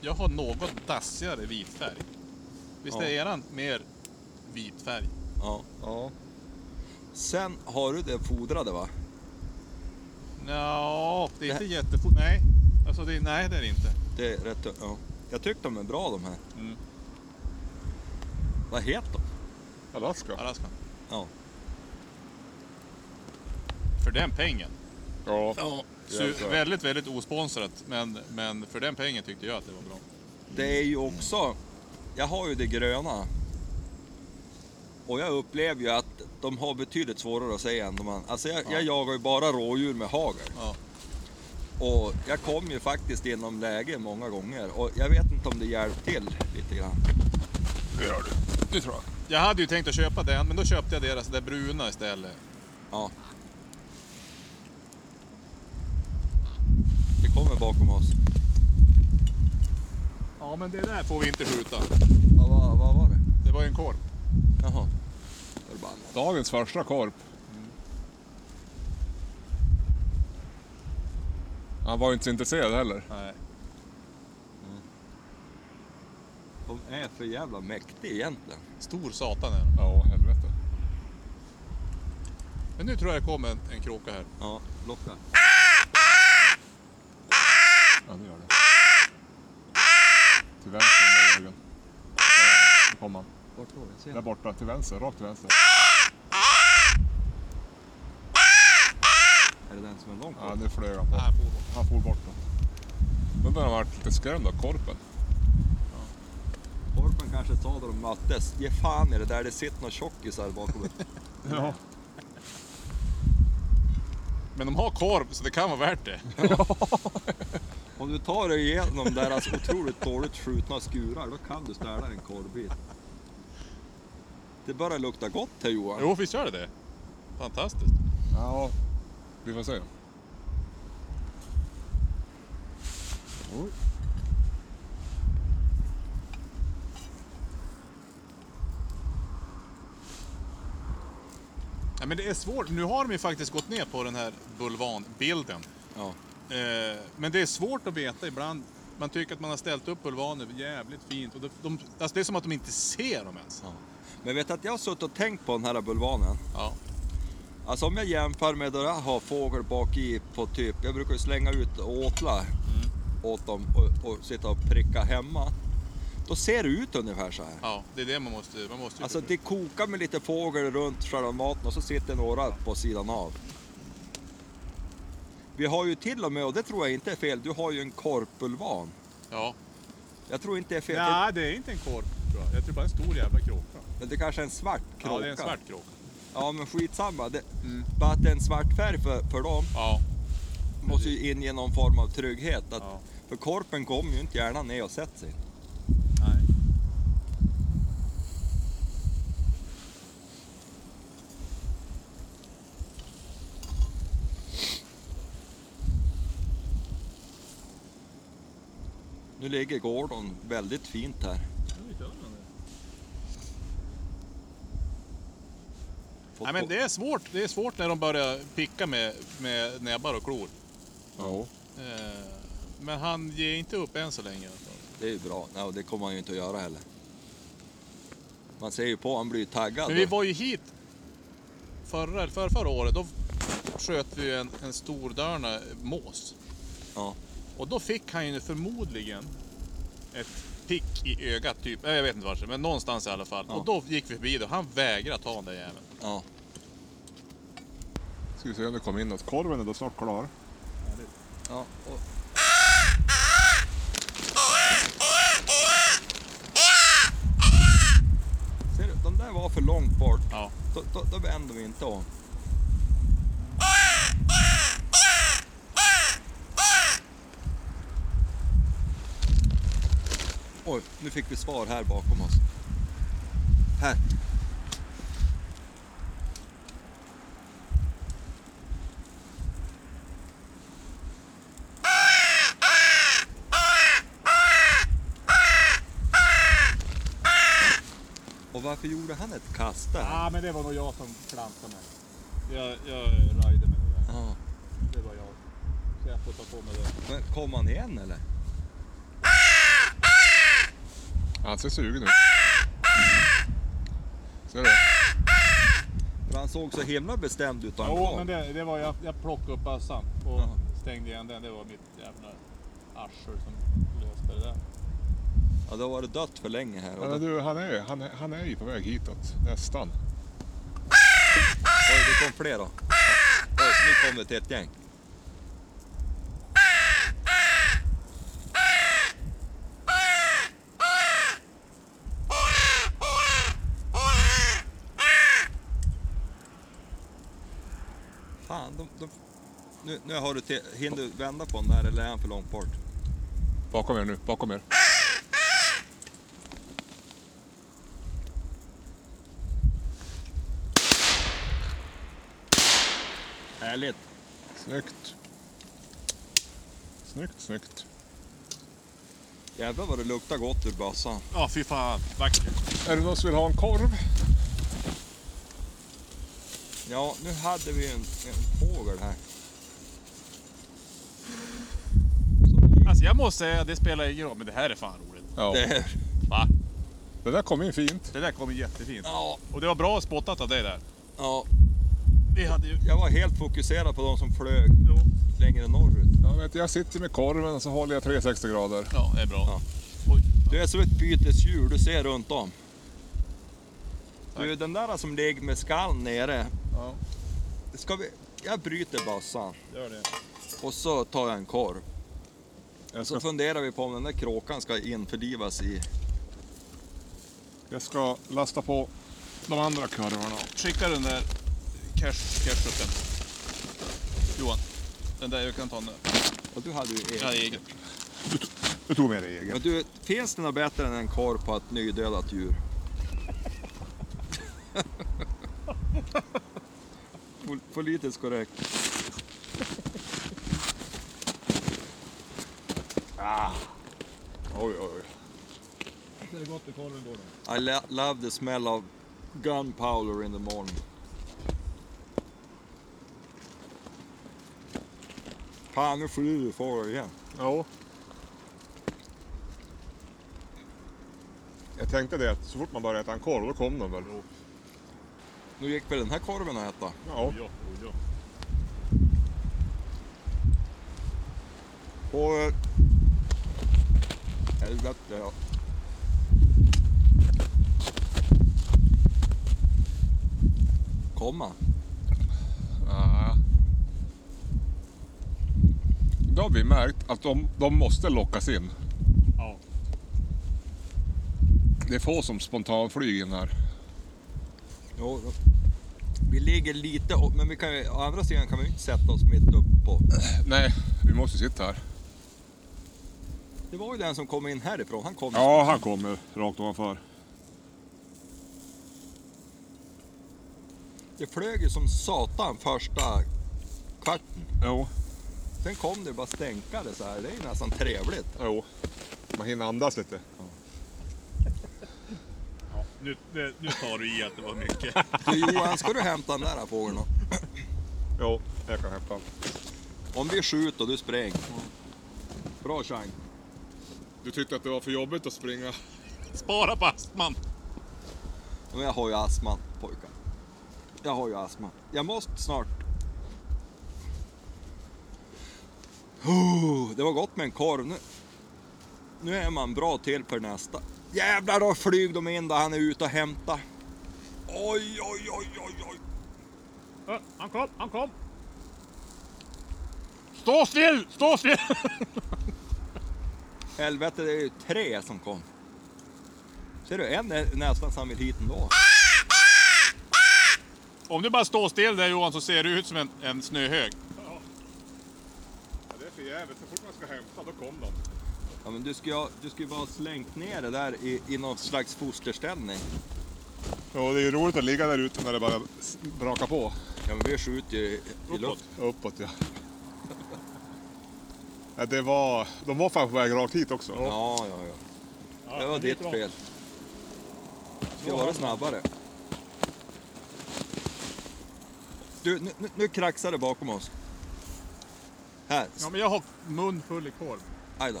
S3: Jag har något dassigare vitfärg. Visst är
S2: Ja.
S3: eran mer vitfärg?
S2: Ja.
S1: Ja.
S2: Sen har du det fodrade va?
S3: Nja, det är inte jättefort. Nej. Alltså det, nej, det är det inte.
S2: Det är rätt... Ja. Jag tyckte de är bra de här.
S3: Mm.
S2: Vad heter de?
S1: Alaska.
S3: Alaska.
S2: Ja.
S3: För den pengen.
S1: Ja.
S3: Ja.
S1: Jäklar.
S3: väldigt, väldigt osponsrat. Men, men för den pengen tyckte jag att det var bra.
S2: Det är ju också, jag har ju det gröna. Och jag upplever ju att de har betydligt svårare att säga än de andra. Alltså jag, jag jagar ju bara rådjur med hagel.
S3: Ja.
S2: Och jag kom ju faktiskt inom läge många gånger. Och jag vet inte om det hjälpt till lite grann.
S1: Det gör du. Det tror jag.
S3: Jag hade ju tänkt att köpa den, men då köpte jag deras, det bruna istället.
S2: Ja. Det kommer bakom oss.
S3: Ja, men det där får vi inte skjuta.
S2: Vad vad- vad var det?
S3: Det var ju en korv.
S2: Jaha. Förbannat.
S1: Dagens första korp. Mm. Han var ju inte så intresserad heller.
S3: Nej.
S2: De är för jävla mäktiga egentligen.
S3: Stor satan är den.
S1: Ja, helvete.
S3: Men nu tror jag det kom en, en kråka här.
S2: Ja, locka.
S1: Ja, det gör det. Till vänster om vägen. Där kom han.
S2: Vart då? Jag ser
S1: Där borta, till vänster. Rakt till vänster.
S2: men de
S1: Ja,
S2: kom.
S1: nu flög han på.
S3: Nej, fordon.
S1: Han for bort då. Då började han varit lite skrämd av korpen.
S2: Korpen kanske sa då de möttes, ge fan i det där, det sitter några tjockisar bakom ett...
S1: Ja.
S3: Men de har korv så det kan vara värt det.
S2: Om du tar dig igenom deras otroligt dåligt skjutna skurar, då kan du ställa en korvbit. Det börjar lukta gott här Johan.
S3: Jo, visst gör det det? Fantastiskt.
S1: Ja, vi får se. Oj.
S3: Ja, men det är svårt. Nu har de ju faktiskt gått ner på den här bulvanbilden.
S2: Ja.
S3: Eh, men det är svårt att veta ibland. Man tycker att man har ställt upp bulvaner jävligt fint. Och de, de, alltså det är som att de inte ser dem ens.
S2: Ja. Men vet du att jag har suttit och tänkt på den här bulvanen.
S3: Ja.
S2: Alltså om jag jämför med då jag har fågel bak i på typ, jag brukar ju slänga ut åtlar åt dem och, och sitta och pricka hemma. Då ser det ut ungefär så här.
S3: ja, det är det man måste... Man måste ju
S2: Alltså det kokar med lite fågel runt själva maten och så sitter några på sidan av. Vi har ju till och med, och det tror jag inte är fel, du har ju en korpulvan.
S3: Ja.
S2: Jag tror inte det är fel,
S6: Nej, det är inte en korp tror jag. Jag tror bara en stor jävla kråka.
S2: det, det kanske är en svart kråka.
S6: Ja, det är en svart kråka.
S2: Ja men skitsamma, det, bara att det är en svart färg för, för dem.
S3: Ja.
S2: måste ju in i någon form av trygghet. Att,
S6: Ja.
S2: För korpen kommer ju inte gärna ner och sätter sig.
S6: Nej.
S2: Nu ligger Gordon väldigt fint här. Fått
S3: Nej, men
S2: på-
S3: det är svårt. Det är svårt när de börjar picka med, med näbbar och klor.
S1: Ja.
S3: Eh, men han ger inte upp än så länge. i alla fall.
S2: det är ju bra. Nej, och det kommer han ju inte att göra heller. Man ser ju på, han blir ju taggad.
S3: Men vi var ju hit förra, för, förra året. Då sköt vi ju en, en stor dörna mås.
S2: Ja.
S3: Och då fick han ju förmodligen ett pick i ögat, typ. Eh, Jag vet inte varför, men någonstans i alla fall.
S2: Ja.
S3: Och då gick vi förbi det och han vägrade ta den där jäveln.
S2: Ja.
S1: Ska vi se om det kommer in något. Korven är då snart klar.
S2: Ja, och... Ser du, de där var för långt bort.
S3: Ja.
S2: Då, då, då vänder vi inte om. Oj, nu fick vi svar här bakom oss. Här. Och varför gjorde han ett kast där?
S6: Ja, men det var nog jag som klantade mig. Jag, jag rajde mig nog där.
S2: Ja.
S6: Det var jag. Så jag får ta på mig det.
S2: Men kom han igen eller?
S1: Han ser sugen ut. Ser du?
S2: För han såg så himla bestämd ut. han
S6: Jo,
S2: kom.
S6: men det, det var jag. Jag plockade upp assan och
S2: Ja.
S6: stängde igen den. Det var mitt jävla arsel som löste det där.
S2: Ja, det har varit dött för länge här. Och
S1: Ja,
S2: då,
S1: men
S2: oj,
S1: du, han är, han, är, han är ju på väg hitåt. Nästan.
S2: det kom fler då. Oj, nu kom det till ett gäng. Fan, de, de, nu, nu har du till, hinner du vända på den där eller är han för långt bort?
S1: Bakom er nu, bakom er.
S2: Härligt.
S1: Snyggt. Snyggt, snyggt.
S2: Jävlar vad det luktar gott ur bössan.
S3: Ja, fy fan. Vackert.
S1: Är det någon som vill ha en korv?
S2: Ja, nu hade vi en, en fågel här. Som gick
S3: Alltså jag måste säga, det spelar ingen roll, men det här är fan roligt.
S1: Ja.
S2: där.
S3: Va?
S1: Det där kom in fint.
S3: Det där kom jättefint.
S2: Ja,
S3: Och det var bra spottat av dig där.
S2: ja,
S3: Vi hade ju...
S2: jag var helt fokuserad på de som flög
S3: Jo.
S2: längre norrut.
S1: Ja, vet, du, jag sitter med korven och så håller jag 360 grader.
S3: Ja, det är bra.
S2: Ja.
S3: Oj.
S2: Du är som ett bytesdjur, du ser runt om. Du, den där som ligger med skallen nere.
S1: Ja.
S2: Ska vi... jag bryter bössan
S4: Gör det.
S2: och så tar jag en korv.
S1: Jag
S2: Så
S1: ska,
S2: funderar vi på om den där kråkan ska införlivas i...
S1: jag ska lasta på de andra kurvorna.
S4: Skicka den där cash, cashupen. Johan, den där jag kan ta nu.
S2: Och du hade ju
S4: Ja, det är eget.
S2: egen.
S1: Du tog med dig egen.
S2: Men du, finns det något bättre än en korv på ett nydödat djur? Pol- Politiskt korrekt.
S1: Ah. Oj, oj, oj.
S4: Det är gott i korven går det.
S2: I lo- love the smell of gunpowder in the morning. Fan, nu flyr fara igen.
S1: Ja. Jag tänkte det att så fort man började äta en korv, då kom de väl.
S2: Nu gick väl den här korven att äta?
S1: Ja.
S2: Och... eh, Helvete ja. Komma.
S1: Då har vi märkt att de, de måste lockas in.
S3: Ja.
S1: Det är få som spontanflyger in här.
S2: Jo, då. Vi ligger lite upp, men vi kan ju, å andra sidan kan vi ju inte sätta oss mitt upp på.
S1: Nej, vi måste sitta här.
S2: Det var ju den som kom in härifrån, han kom
S1: Ja, han kommer rakt ovanför.
S2: Det flög ju som satan första kvarten.
S1: Jo,
S2: Sen kom det bara stänkare så här. Det är ju nästan trevligt.
S1: jo. Man hinner andas lite.
S3: Nu, nu, nu tar du i att det var mycket.
S2: Du Johan, ska du hämta den där fågeln? då?
S1: Jo, jag kan hämta honom.
S2: Om vi skjuter och du spränger. Bra chans.
S1: Du tyckte att det var för jobbigt att springa?
S3: Spara på astman.
S2: Men jag har ju astma pojkar. Jag har ju astma. Jag måste snart. Oh, det var gott med en korv nu. Nu är man bra till för nästa. Jävlar, då flyg de in där han är ute och hämtar. Oj, oj, oj, oj, oj.
S5: Ö, Han kom, han kom.
S3: Stå still! Stå still!
S2: Helvete, det är ju tre som kom. Ser du, en är nästan som han vill hit ändå.
S3: Om du bara står still där Johan så ser du ut som en, en snöhög.
S1: Ja, det är för jävligt. Så fort man ska hämta, då kom de.
S2: Ja, men du ska ju ha- du ska ju bara ha slängt ner det där i, i någon slags fosterställning.
S1: Jo, det är ju roligt att ligga där ute när det bara s- brakar på.
S2: Ja, men vi skjuter ju i, i luft.
S1: Uppåt, ja. ja det var, de var fan på väg rakt hit också.
S2: Ja, ja, ja. Det var ditt fel. Ska vara snabbare. Du, nu, nu, nu kraxar det bakom oss. Här,
S3: Ja, men jag har mun full i korv.
S2: aj då.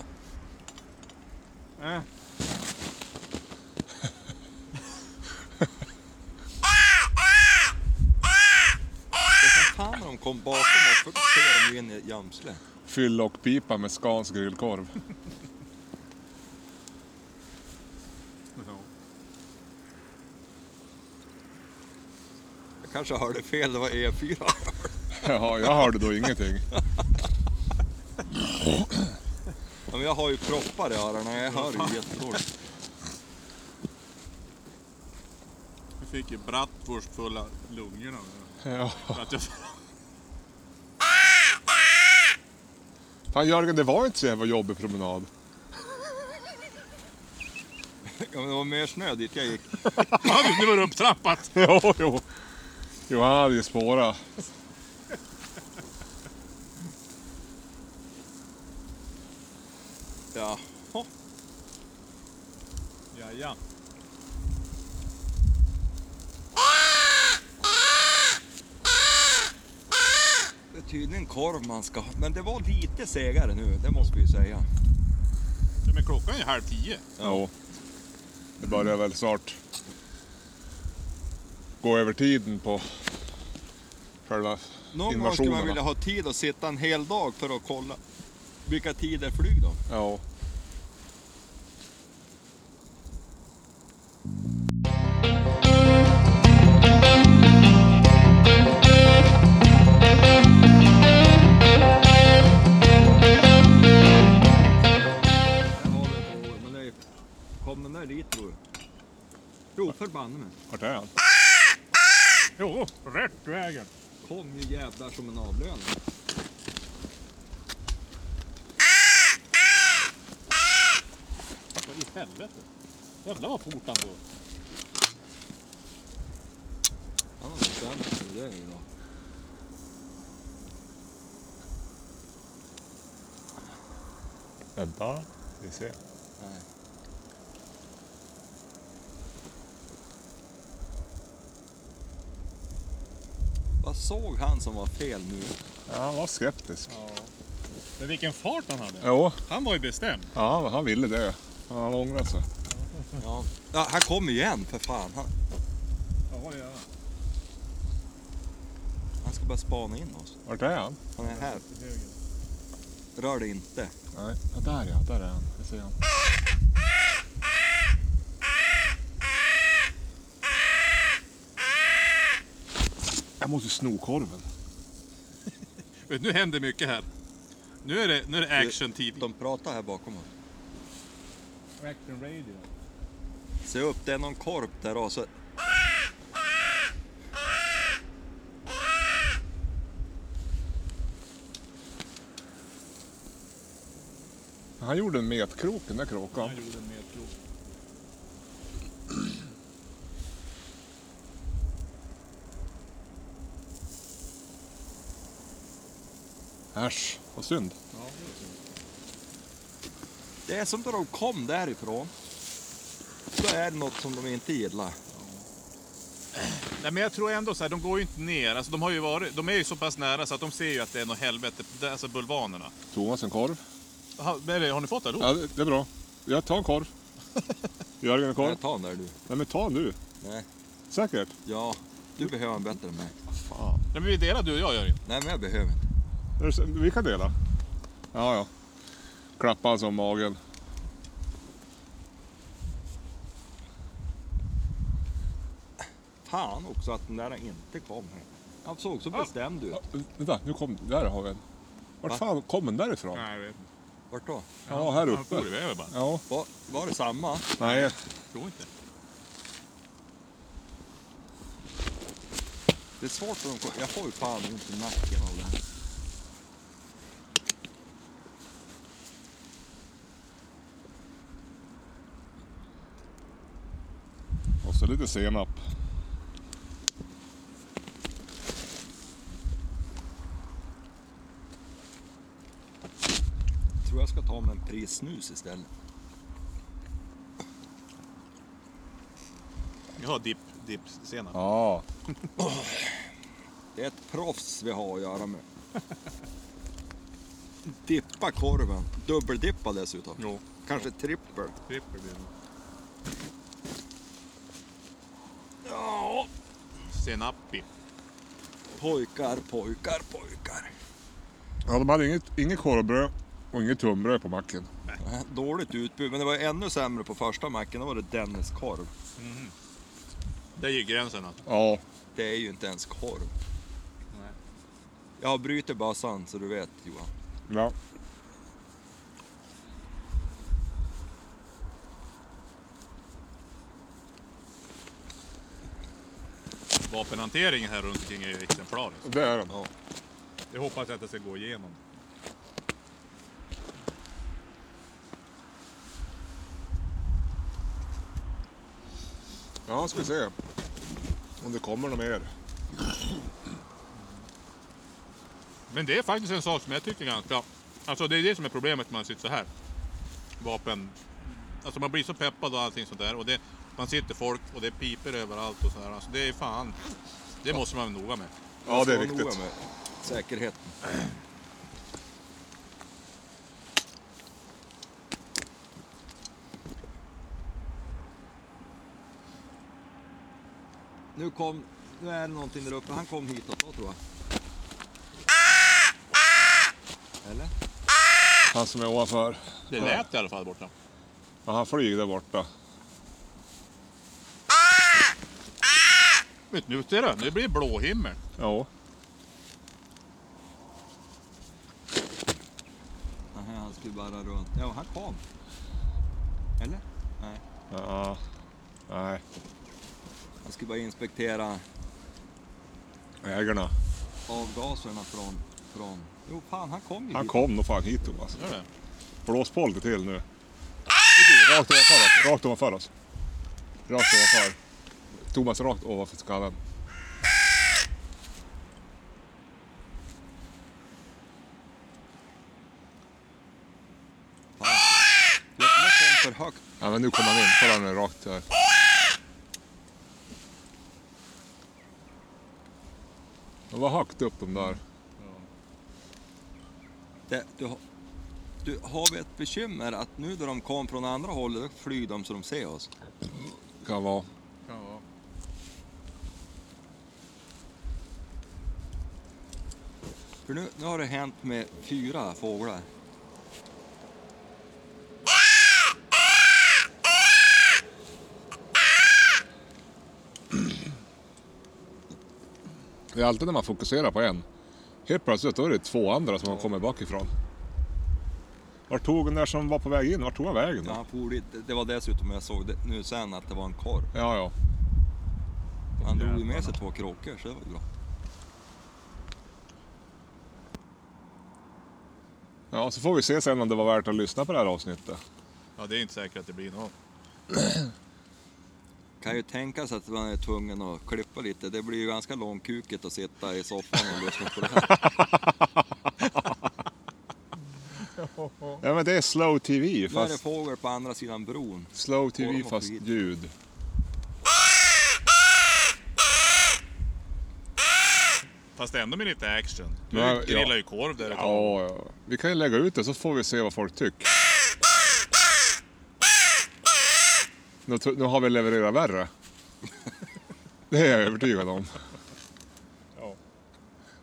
S3: Äh.
S2: Det är som fan när de kom bakom oss, för då ser de ju in i Jamsle.
S1: Fyll och pipa med Scans grillkorv.
S2: Jag kanske hörde fel, det var E E4.
S1: Ja, jag hörde då ingenting.
S2: Ja, men jag har ju proppar i öronen, jag hör ju jättedåligt.
S3: Jag fick ju bratwurst fulla lungorna.
S1: Ja.
S3: För att jag...
S1: Fan Jörgen, det var inte så jävla jobbig promenad.
S2: Ja, men det var mer snö dit jag gick.
S3: Nu var det upptrappat!
S1: jo, jo. Jo, han hade ju spårat.
S2: Ja.
S3: Ja, ja.
S2: Det är tydligen korv man ska ha. Men det var lite segare nu, det måste vi ju säga.
S3: Men klockan är ju halv tio.
S1: Jo. Det börjar väl snart gå över tiden på själva
S2: Någon gång skulle
S1: invasionerna.
S2: man vilja ha tid att sitta en hel dag för att kolla vilka tider flyg de.
S1: Ja.
S2: hit tror jag. Jo, förbanne mig.
S1: Vart är han?
S3: Jo, rätt vägen.
S2: Kom ju jävlar som en avlöning.
S3: Vad i helvete? Jävlar vad fort han går.
S2: Han har bestämt sig, det är ju bra.
S1: Vänta, vi ser.
S2: Nej. Vad såg han som var fel nu?
S1: Ja, han var skeptisk.
S3: Men vilken fart han hade.
S1: Jo,
S3: Han var ju bestämd.
S1: ja, han- han ville det. Han ångrar sig.
S2: Ja. han kom igen för fan. Han,
S3: Ja, ja.
S2: han ska bara spana in oss.
S1: Vart är han?
S2: Han är här. Rör dig inte.
S1: Nej. Ja, där ja, där är han. Det ser han. Jag måste sno korven.
S3: Vet, Nu händer mycket här. Nu är det, nu är det action-tid.
S2: De pratar här bakom oss.
S3: Action radio.
S2: Se upp, det är någon korp där alltså. och så...
S1: Han gjorde en metkrok den där kråkan.
S3: Han gjorde en metkrok.
S1: Äsch, vad synd.
S2: Det är som när de kom därifrån. Så är det något som de inte gillar.
S3: Nej, men jag tror ändå så här, de går ju inte ner. Alltså, de, har ju varit, de är ju så pass nära så att de ser ju att det är något helvete. Det är Alltså bulvanerna.
S1: Thomas en korv.
S3: Ha, men det- har ni fått det?
S1: Ja, det det är bra. Jag tar en korv. Jörgen en korv.
S2: Jag tar den där du.
S1: Nej men ta nu.
S2: Nej.
S1: Säkert?
S2: Ja, du behöver en bättre än mig.
S1: Fan.
S3: Nej, men vi delar du och jag Jörgen.
S2: Nej, men jag behöver inte.
S1: Är det så- Vi kan dela. Ja, ja. Klappa alltså om magen.
S2: Fan också att den där inte kom. här. Han såg så bestämd ut.
S1: Ja, vänta, nu kom Där har vi en. Vart
S2: Va?
S1: fan kom den därifrån?
S3: Nej, jag vet
S2: Vart då?
S1: Ja, här
S3: Han for
S1: uppe.
S3: iväg bara.
S1: Ja,
S2: Var, var det samma?
S1: nej.
S3: Jag tror inte.
S2: Det är svårt för dem. Jag får ju fan ont i nacken av det här.
S1: Och så lite senap.
S2: Jag tror jag ska ta mig en prissnus istället.
S3: Jag har dipp, dipp senare.
S1: Ja,
S2: Det är ett proffs vi har att göra med. Dippa korven. Dubbeldippa dessutom.
S3: Jo,
S2: Kanske trippel.
S3: trippel blir det.
S2: Ja,
S3: Senappi.
S2: pojkar, pojkar, pojkar.
S1: ja de hade inget, inget korvbröd och inget tunnbröd på macken.
S2: Dåligt utbud, men det var ju ännu sämre på första macken. Då var det Dennis korv.
S3: Där gick gränsen alltså.
S1: Ja,
S2: Det är ju inte ens korv.
S3: Nej.
S2: Jag bryter bössan så du vet Johan.
S1: ja.
S3: Vapenhanteringen här runt omkring är ju exemplarisk.
S1: det är den.
S2: Ja.
S3: Jag hoppas att det ska gå igenom.
S1: Ja, ska vi se om det kommer något mer.
S3: Men det är faktiskt en sak som jag tycker är ganska... Alltså det är det som är problemet när man sitter så här. Vapen... Alltså man blir så peppad och allting sånt där. Och det, man sitter folk och det piper överallt och sådär. Alltså det är fan... Det måste man vara noga med.
S1: Ja, det är
S2: Jag ska vara
S1: riktigt.
S2: noga med Säkerheten. Nu kom, nu är det någonting där uppe. Han kom hitåt då tror jag. Eller?
S1: Han som är ovanför.
S3: Det lät i alla fall borta.
S1: Ja, han flyger där borta.
S3: Men nu ser du, nu blir det blå himmel.
S1: Ja.
S2: Nej, han skulle bara runt. Ja, han kom. Eller? Nej.
S1: Ja, nej,
S2: Jag skulle bara inspektera
S1: ägarna.
S2: avgaserna från... från... Jo, fan han kom ju
S1: Han
S2: hit.
S1: kom nog fan hit då alltså.
S4: Gör det?
S1: Blås på lite till nu. Rakt ovanför oss. Rakt ovanför oss. Rakt ovanför. Thomas rakt ovanför skallen.
S2: Jag, jag kom för högt.
S1: Ja, men nu kommer han in. Kolla nu rakt där. De var högt upp de där.
S2: Det, du, har- du, har vi ett bekymmer att nu när de kom från andra hållet, då flyr de så de ser oss.
S1: Kan vara.
S4: Kan vara.
S2: För nu, nu har det hänt med fyra fåglar.
S1: Det är alltid när man fokuserar på en. Helt plötsligt då är det två andra som har kommit bakifrån. Vart tog den där som var på väg in? Vart tog han vägen?
S2: Ja,
S1: Då?
S2: han for dit. Det- Det var dessutom jag såg det nu sen att det var en korv.
S1: Ja, ja.
S2: Han drog ju med sig två kråkor så det var ju bra.
S1: Ja, så får vi se sen om det var värt att lyssna på det här avsnittet.
S4: Ja, det är inte säkert att det blir något.
S2: Kan ju tänkas att man är tvungen att klippa lite. Det blir ju ganska långkukigt att sitta i soffan och lyssna på det här.
S1: Ja, men det är slow TV
S2: Nu är det
S1: fast
S2: fågel på andra sidan bron.
S1: slow TV
S2: Orm och
S1: fast
S2: skit.
S1: ljud.
S4: Fast ändå med lite action. Du
S1: Ja,
S4: grillar
S1: ja.
S4: ju korv där ett tag.
S1: Ja, ja. vi kan ju lägga ut det så får vi se vad folk tycker. Nu, t- nu har vi levererat värre. Det är jag övertygad om.
S4: Ja.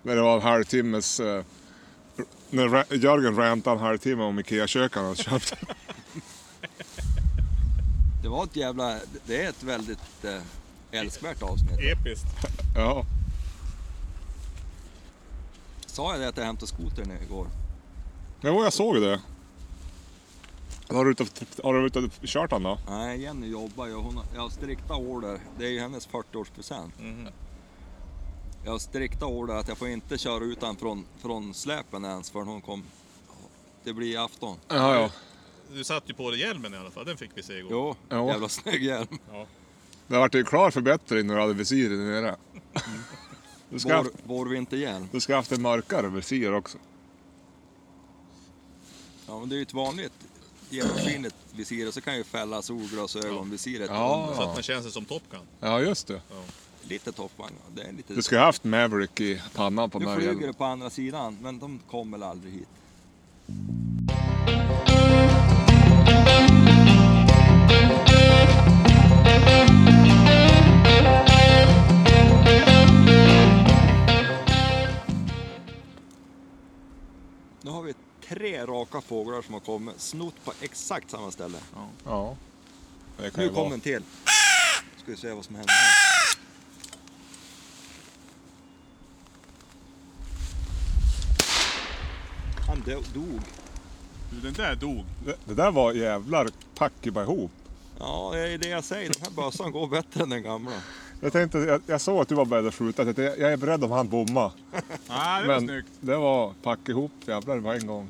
S1: När det var en halvtimmes... eh, När Ra- Jörgen rantade en halvtimme om Ikea-köken han köpte.
S2: Det var ett jävla... Det är ett väldigt eh, älskvärt avsnitt.
S4: Episkt.
S1: Ja.
S2: Sa jag det att jag hämtade skotern igår?
S1: Jo, jag såg det. Har du ute och- har du ute och kört han då?
S2: Nej, Jenny jobbar ju. Hon har, jag har strikta order. Det är ju hennes 40-årspresent. Jag har strikta order att jag får inte köra ut den från, från släpen ens förrän hon kom. Det blir afton.
S1: Ja, ja.
S4: Du satte ju på dig hjälmen i alla fall. Den fick vi se igår.
S2: Jo,
S1: Ja.
S2: jävla snygg hjälm.
S1: Det vart ju klar förbättring när du hade visiren nere. Du ska,
S2: Vår,
S1: haft,
S2: vår vinterhjälm.
S1: du ska haft en mörkare visir också.
S2: Ja, men det är ju ett vanligt genomskinligt visir och så kan ju fälla solglasögonvisiret.
S1: Ja.
S4: Så att man känns som Top Gun.
S1: Ja, just det.
S2: Lite toppvagn. ja. Det är lite...
S1: Du ska ha haft Maverick i pannan på den
S2: Nu
S1: här
S2: flyger
S1: hjälmen.
S2: det på andra sidan, men de kom väl aldrig hit. Nu har vi tre raka fåglar som har kommit, snott på exakt samma ställe.
S1: Ja. Det kan
S2: Nu
S1: ju vara.
S2: kom en till. Ska vi se vad som händer här. Han do- dog.
S4: Du, den där dog.
S1: Det, det där var jävlar packiba ihop.
S2: Ja, det är det jag säger. Den här bössan går bättre än den gamla.
S1: Jag, tänkte, jag, jag såg att du var beredd att skjuta. Jag, tänkte, jag är beredd om han bommar.
S4: Ah, det var
S1: Men
S4: snyggt.
S1: det var pack ihop jävlar på en gång.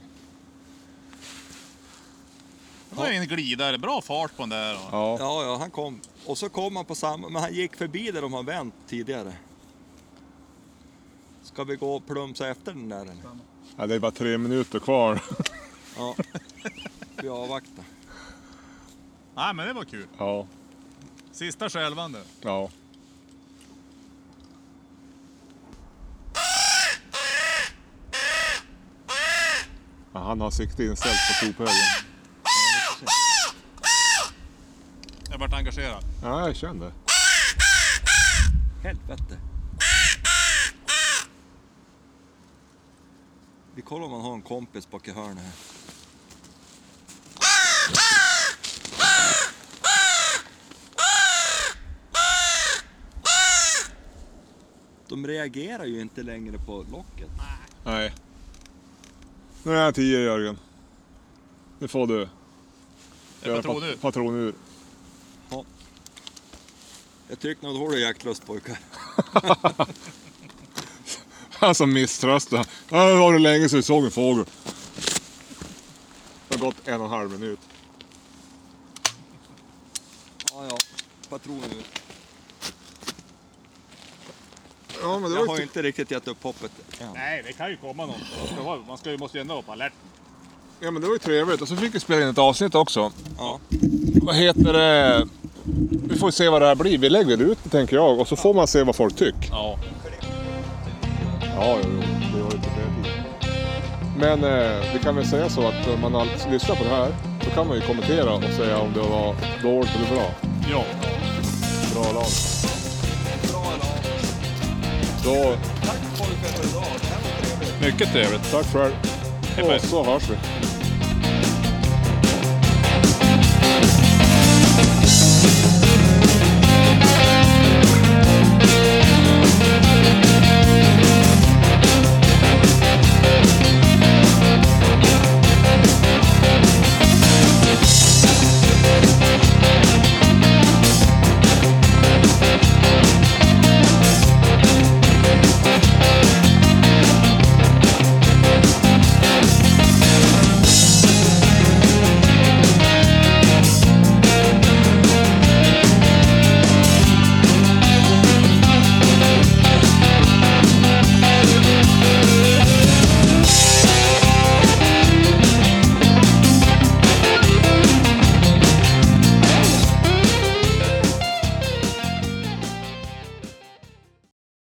S4: Det var en glidare. Bra fart på den där. Och...
S1: Ja.
S2: Ja, ja, han kom. Och så kom han på samma, men han gick förbi där de har vänt tidigare. Ska vi gå och plumsa efter den där eller?
S1: Ja, det är bara tre minuter kvar.
S2: Ja. Vi avvaktar.
S4: Nej, men det var kul.
S1: Ja.
S4: Sista skälvan du.
S1: Ja. Ja, han har sikte inställt på sophögen.
S4: Jag vart engagerad.
S1: Ja, jag känner det.
S2: Helvete. Vi kollar om han har en kompis bak i hörnet här. De reagerar ju inte längre på locket.
S1: Nej. Nu är jag tio Jörgen. Nu får du
S4: Det är patron
S1: pat-
S4: ut.
S1: patronur.
S2: Jag tycker nog då har du jaktlust pojkar.
S1: Han som misströstar. Alltså, Ja, Det var det länge sedan vi såg en fågel. Det har gått en och en halv minut.
S2: Ja, ja. Patronen ut.
S1: Ja, men det
S2: Jag
S1: var
S2: har ju typ-
S1: ju...
S2: inte riktigt gett upp hoppet än.
S3: Nej, det kan ju komma någon. Man ska vara- Man ska ju, måste ju ändå vara på alert.
S1: Ja, men det var ju trevligt. Och så fick vi spela in ett avsnitt också.
S2: Ja.
S1: Vad heter det? Vi får se vad det här blir. Vi lägger det ut tänker jag. Och så får man se vad folk tycker.
S3: Ja.
S1: Ja, jo, jo. Det var lite fler tid. Men eh, vi kan väl säga så att om man alltid lyssnar på det här så kan man ju kommentera och säga om det var dåligt eller bra.
S3: Ja.
S1: Bra lag.
S2: Bra då.
S1: Så,
S2: Tack pojkar för idag. Det här var trevligt.
S3: Mycket trevligt.
S1: tack själv.
S3: hej.
S1: Och så hörs vi.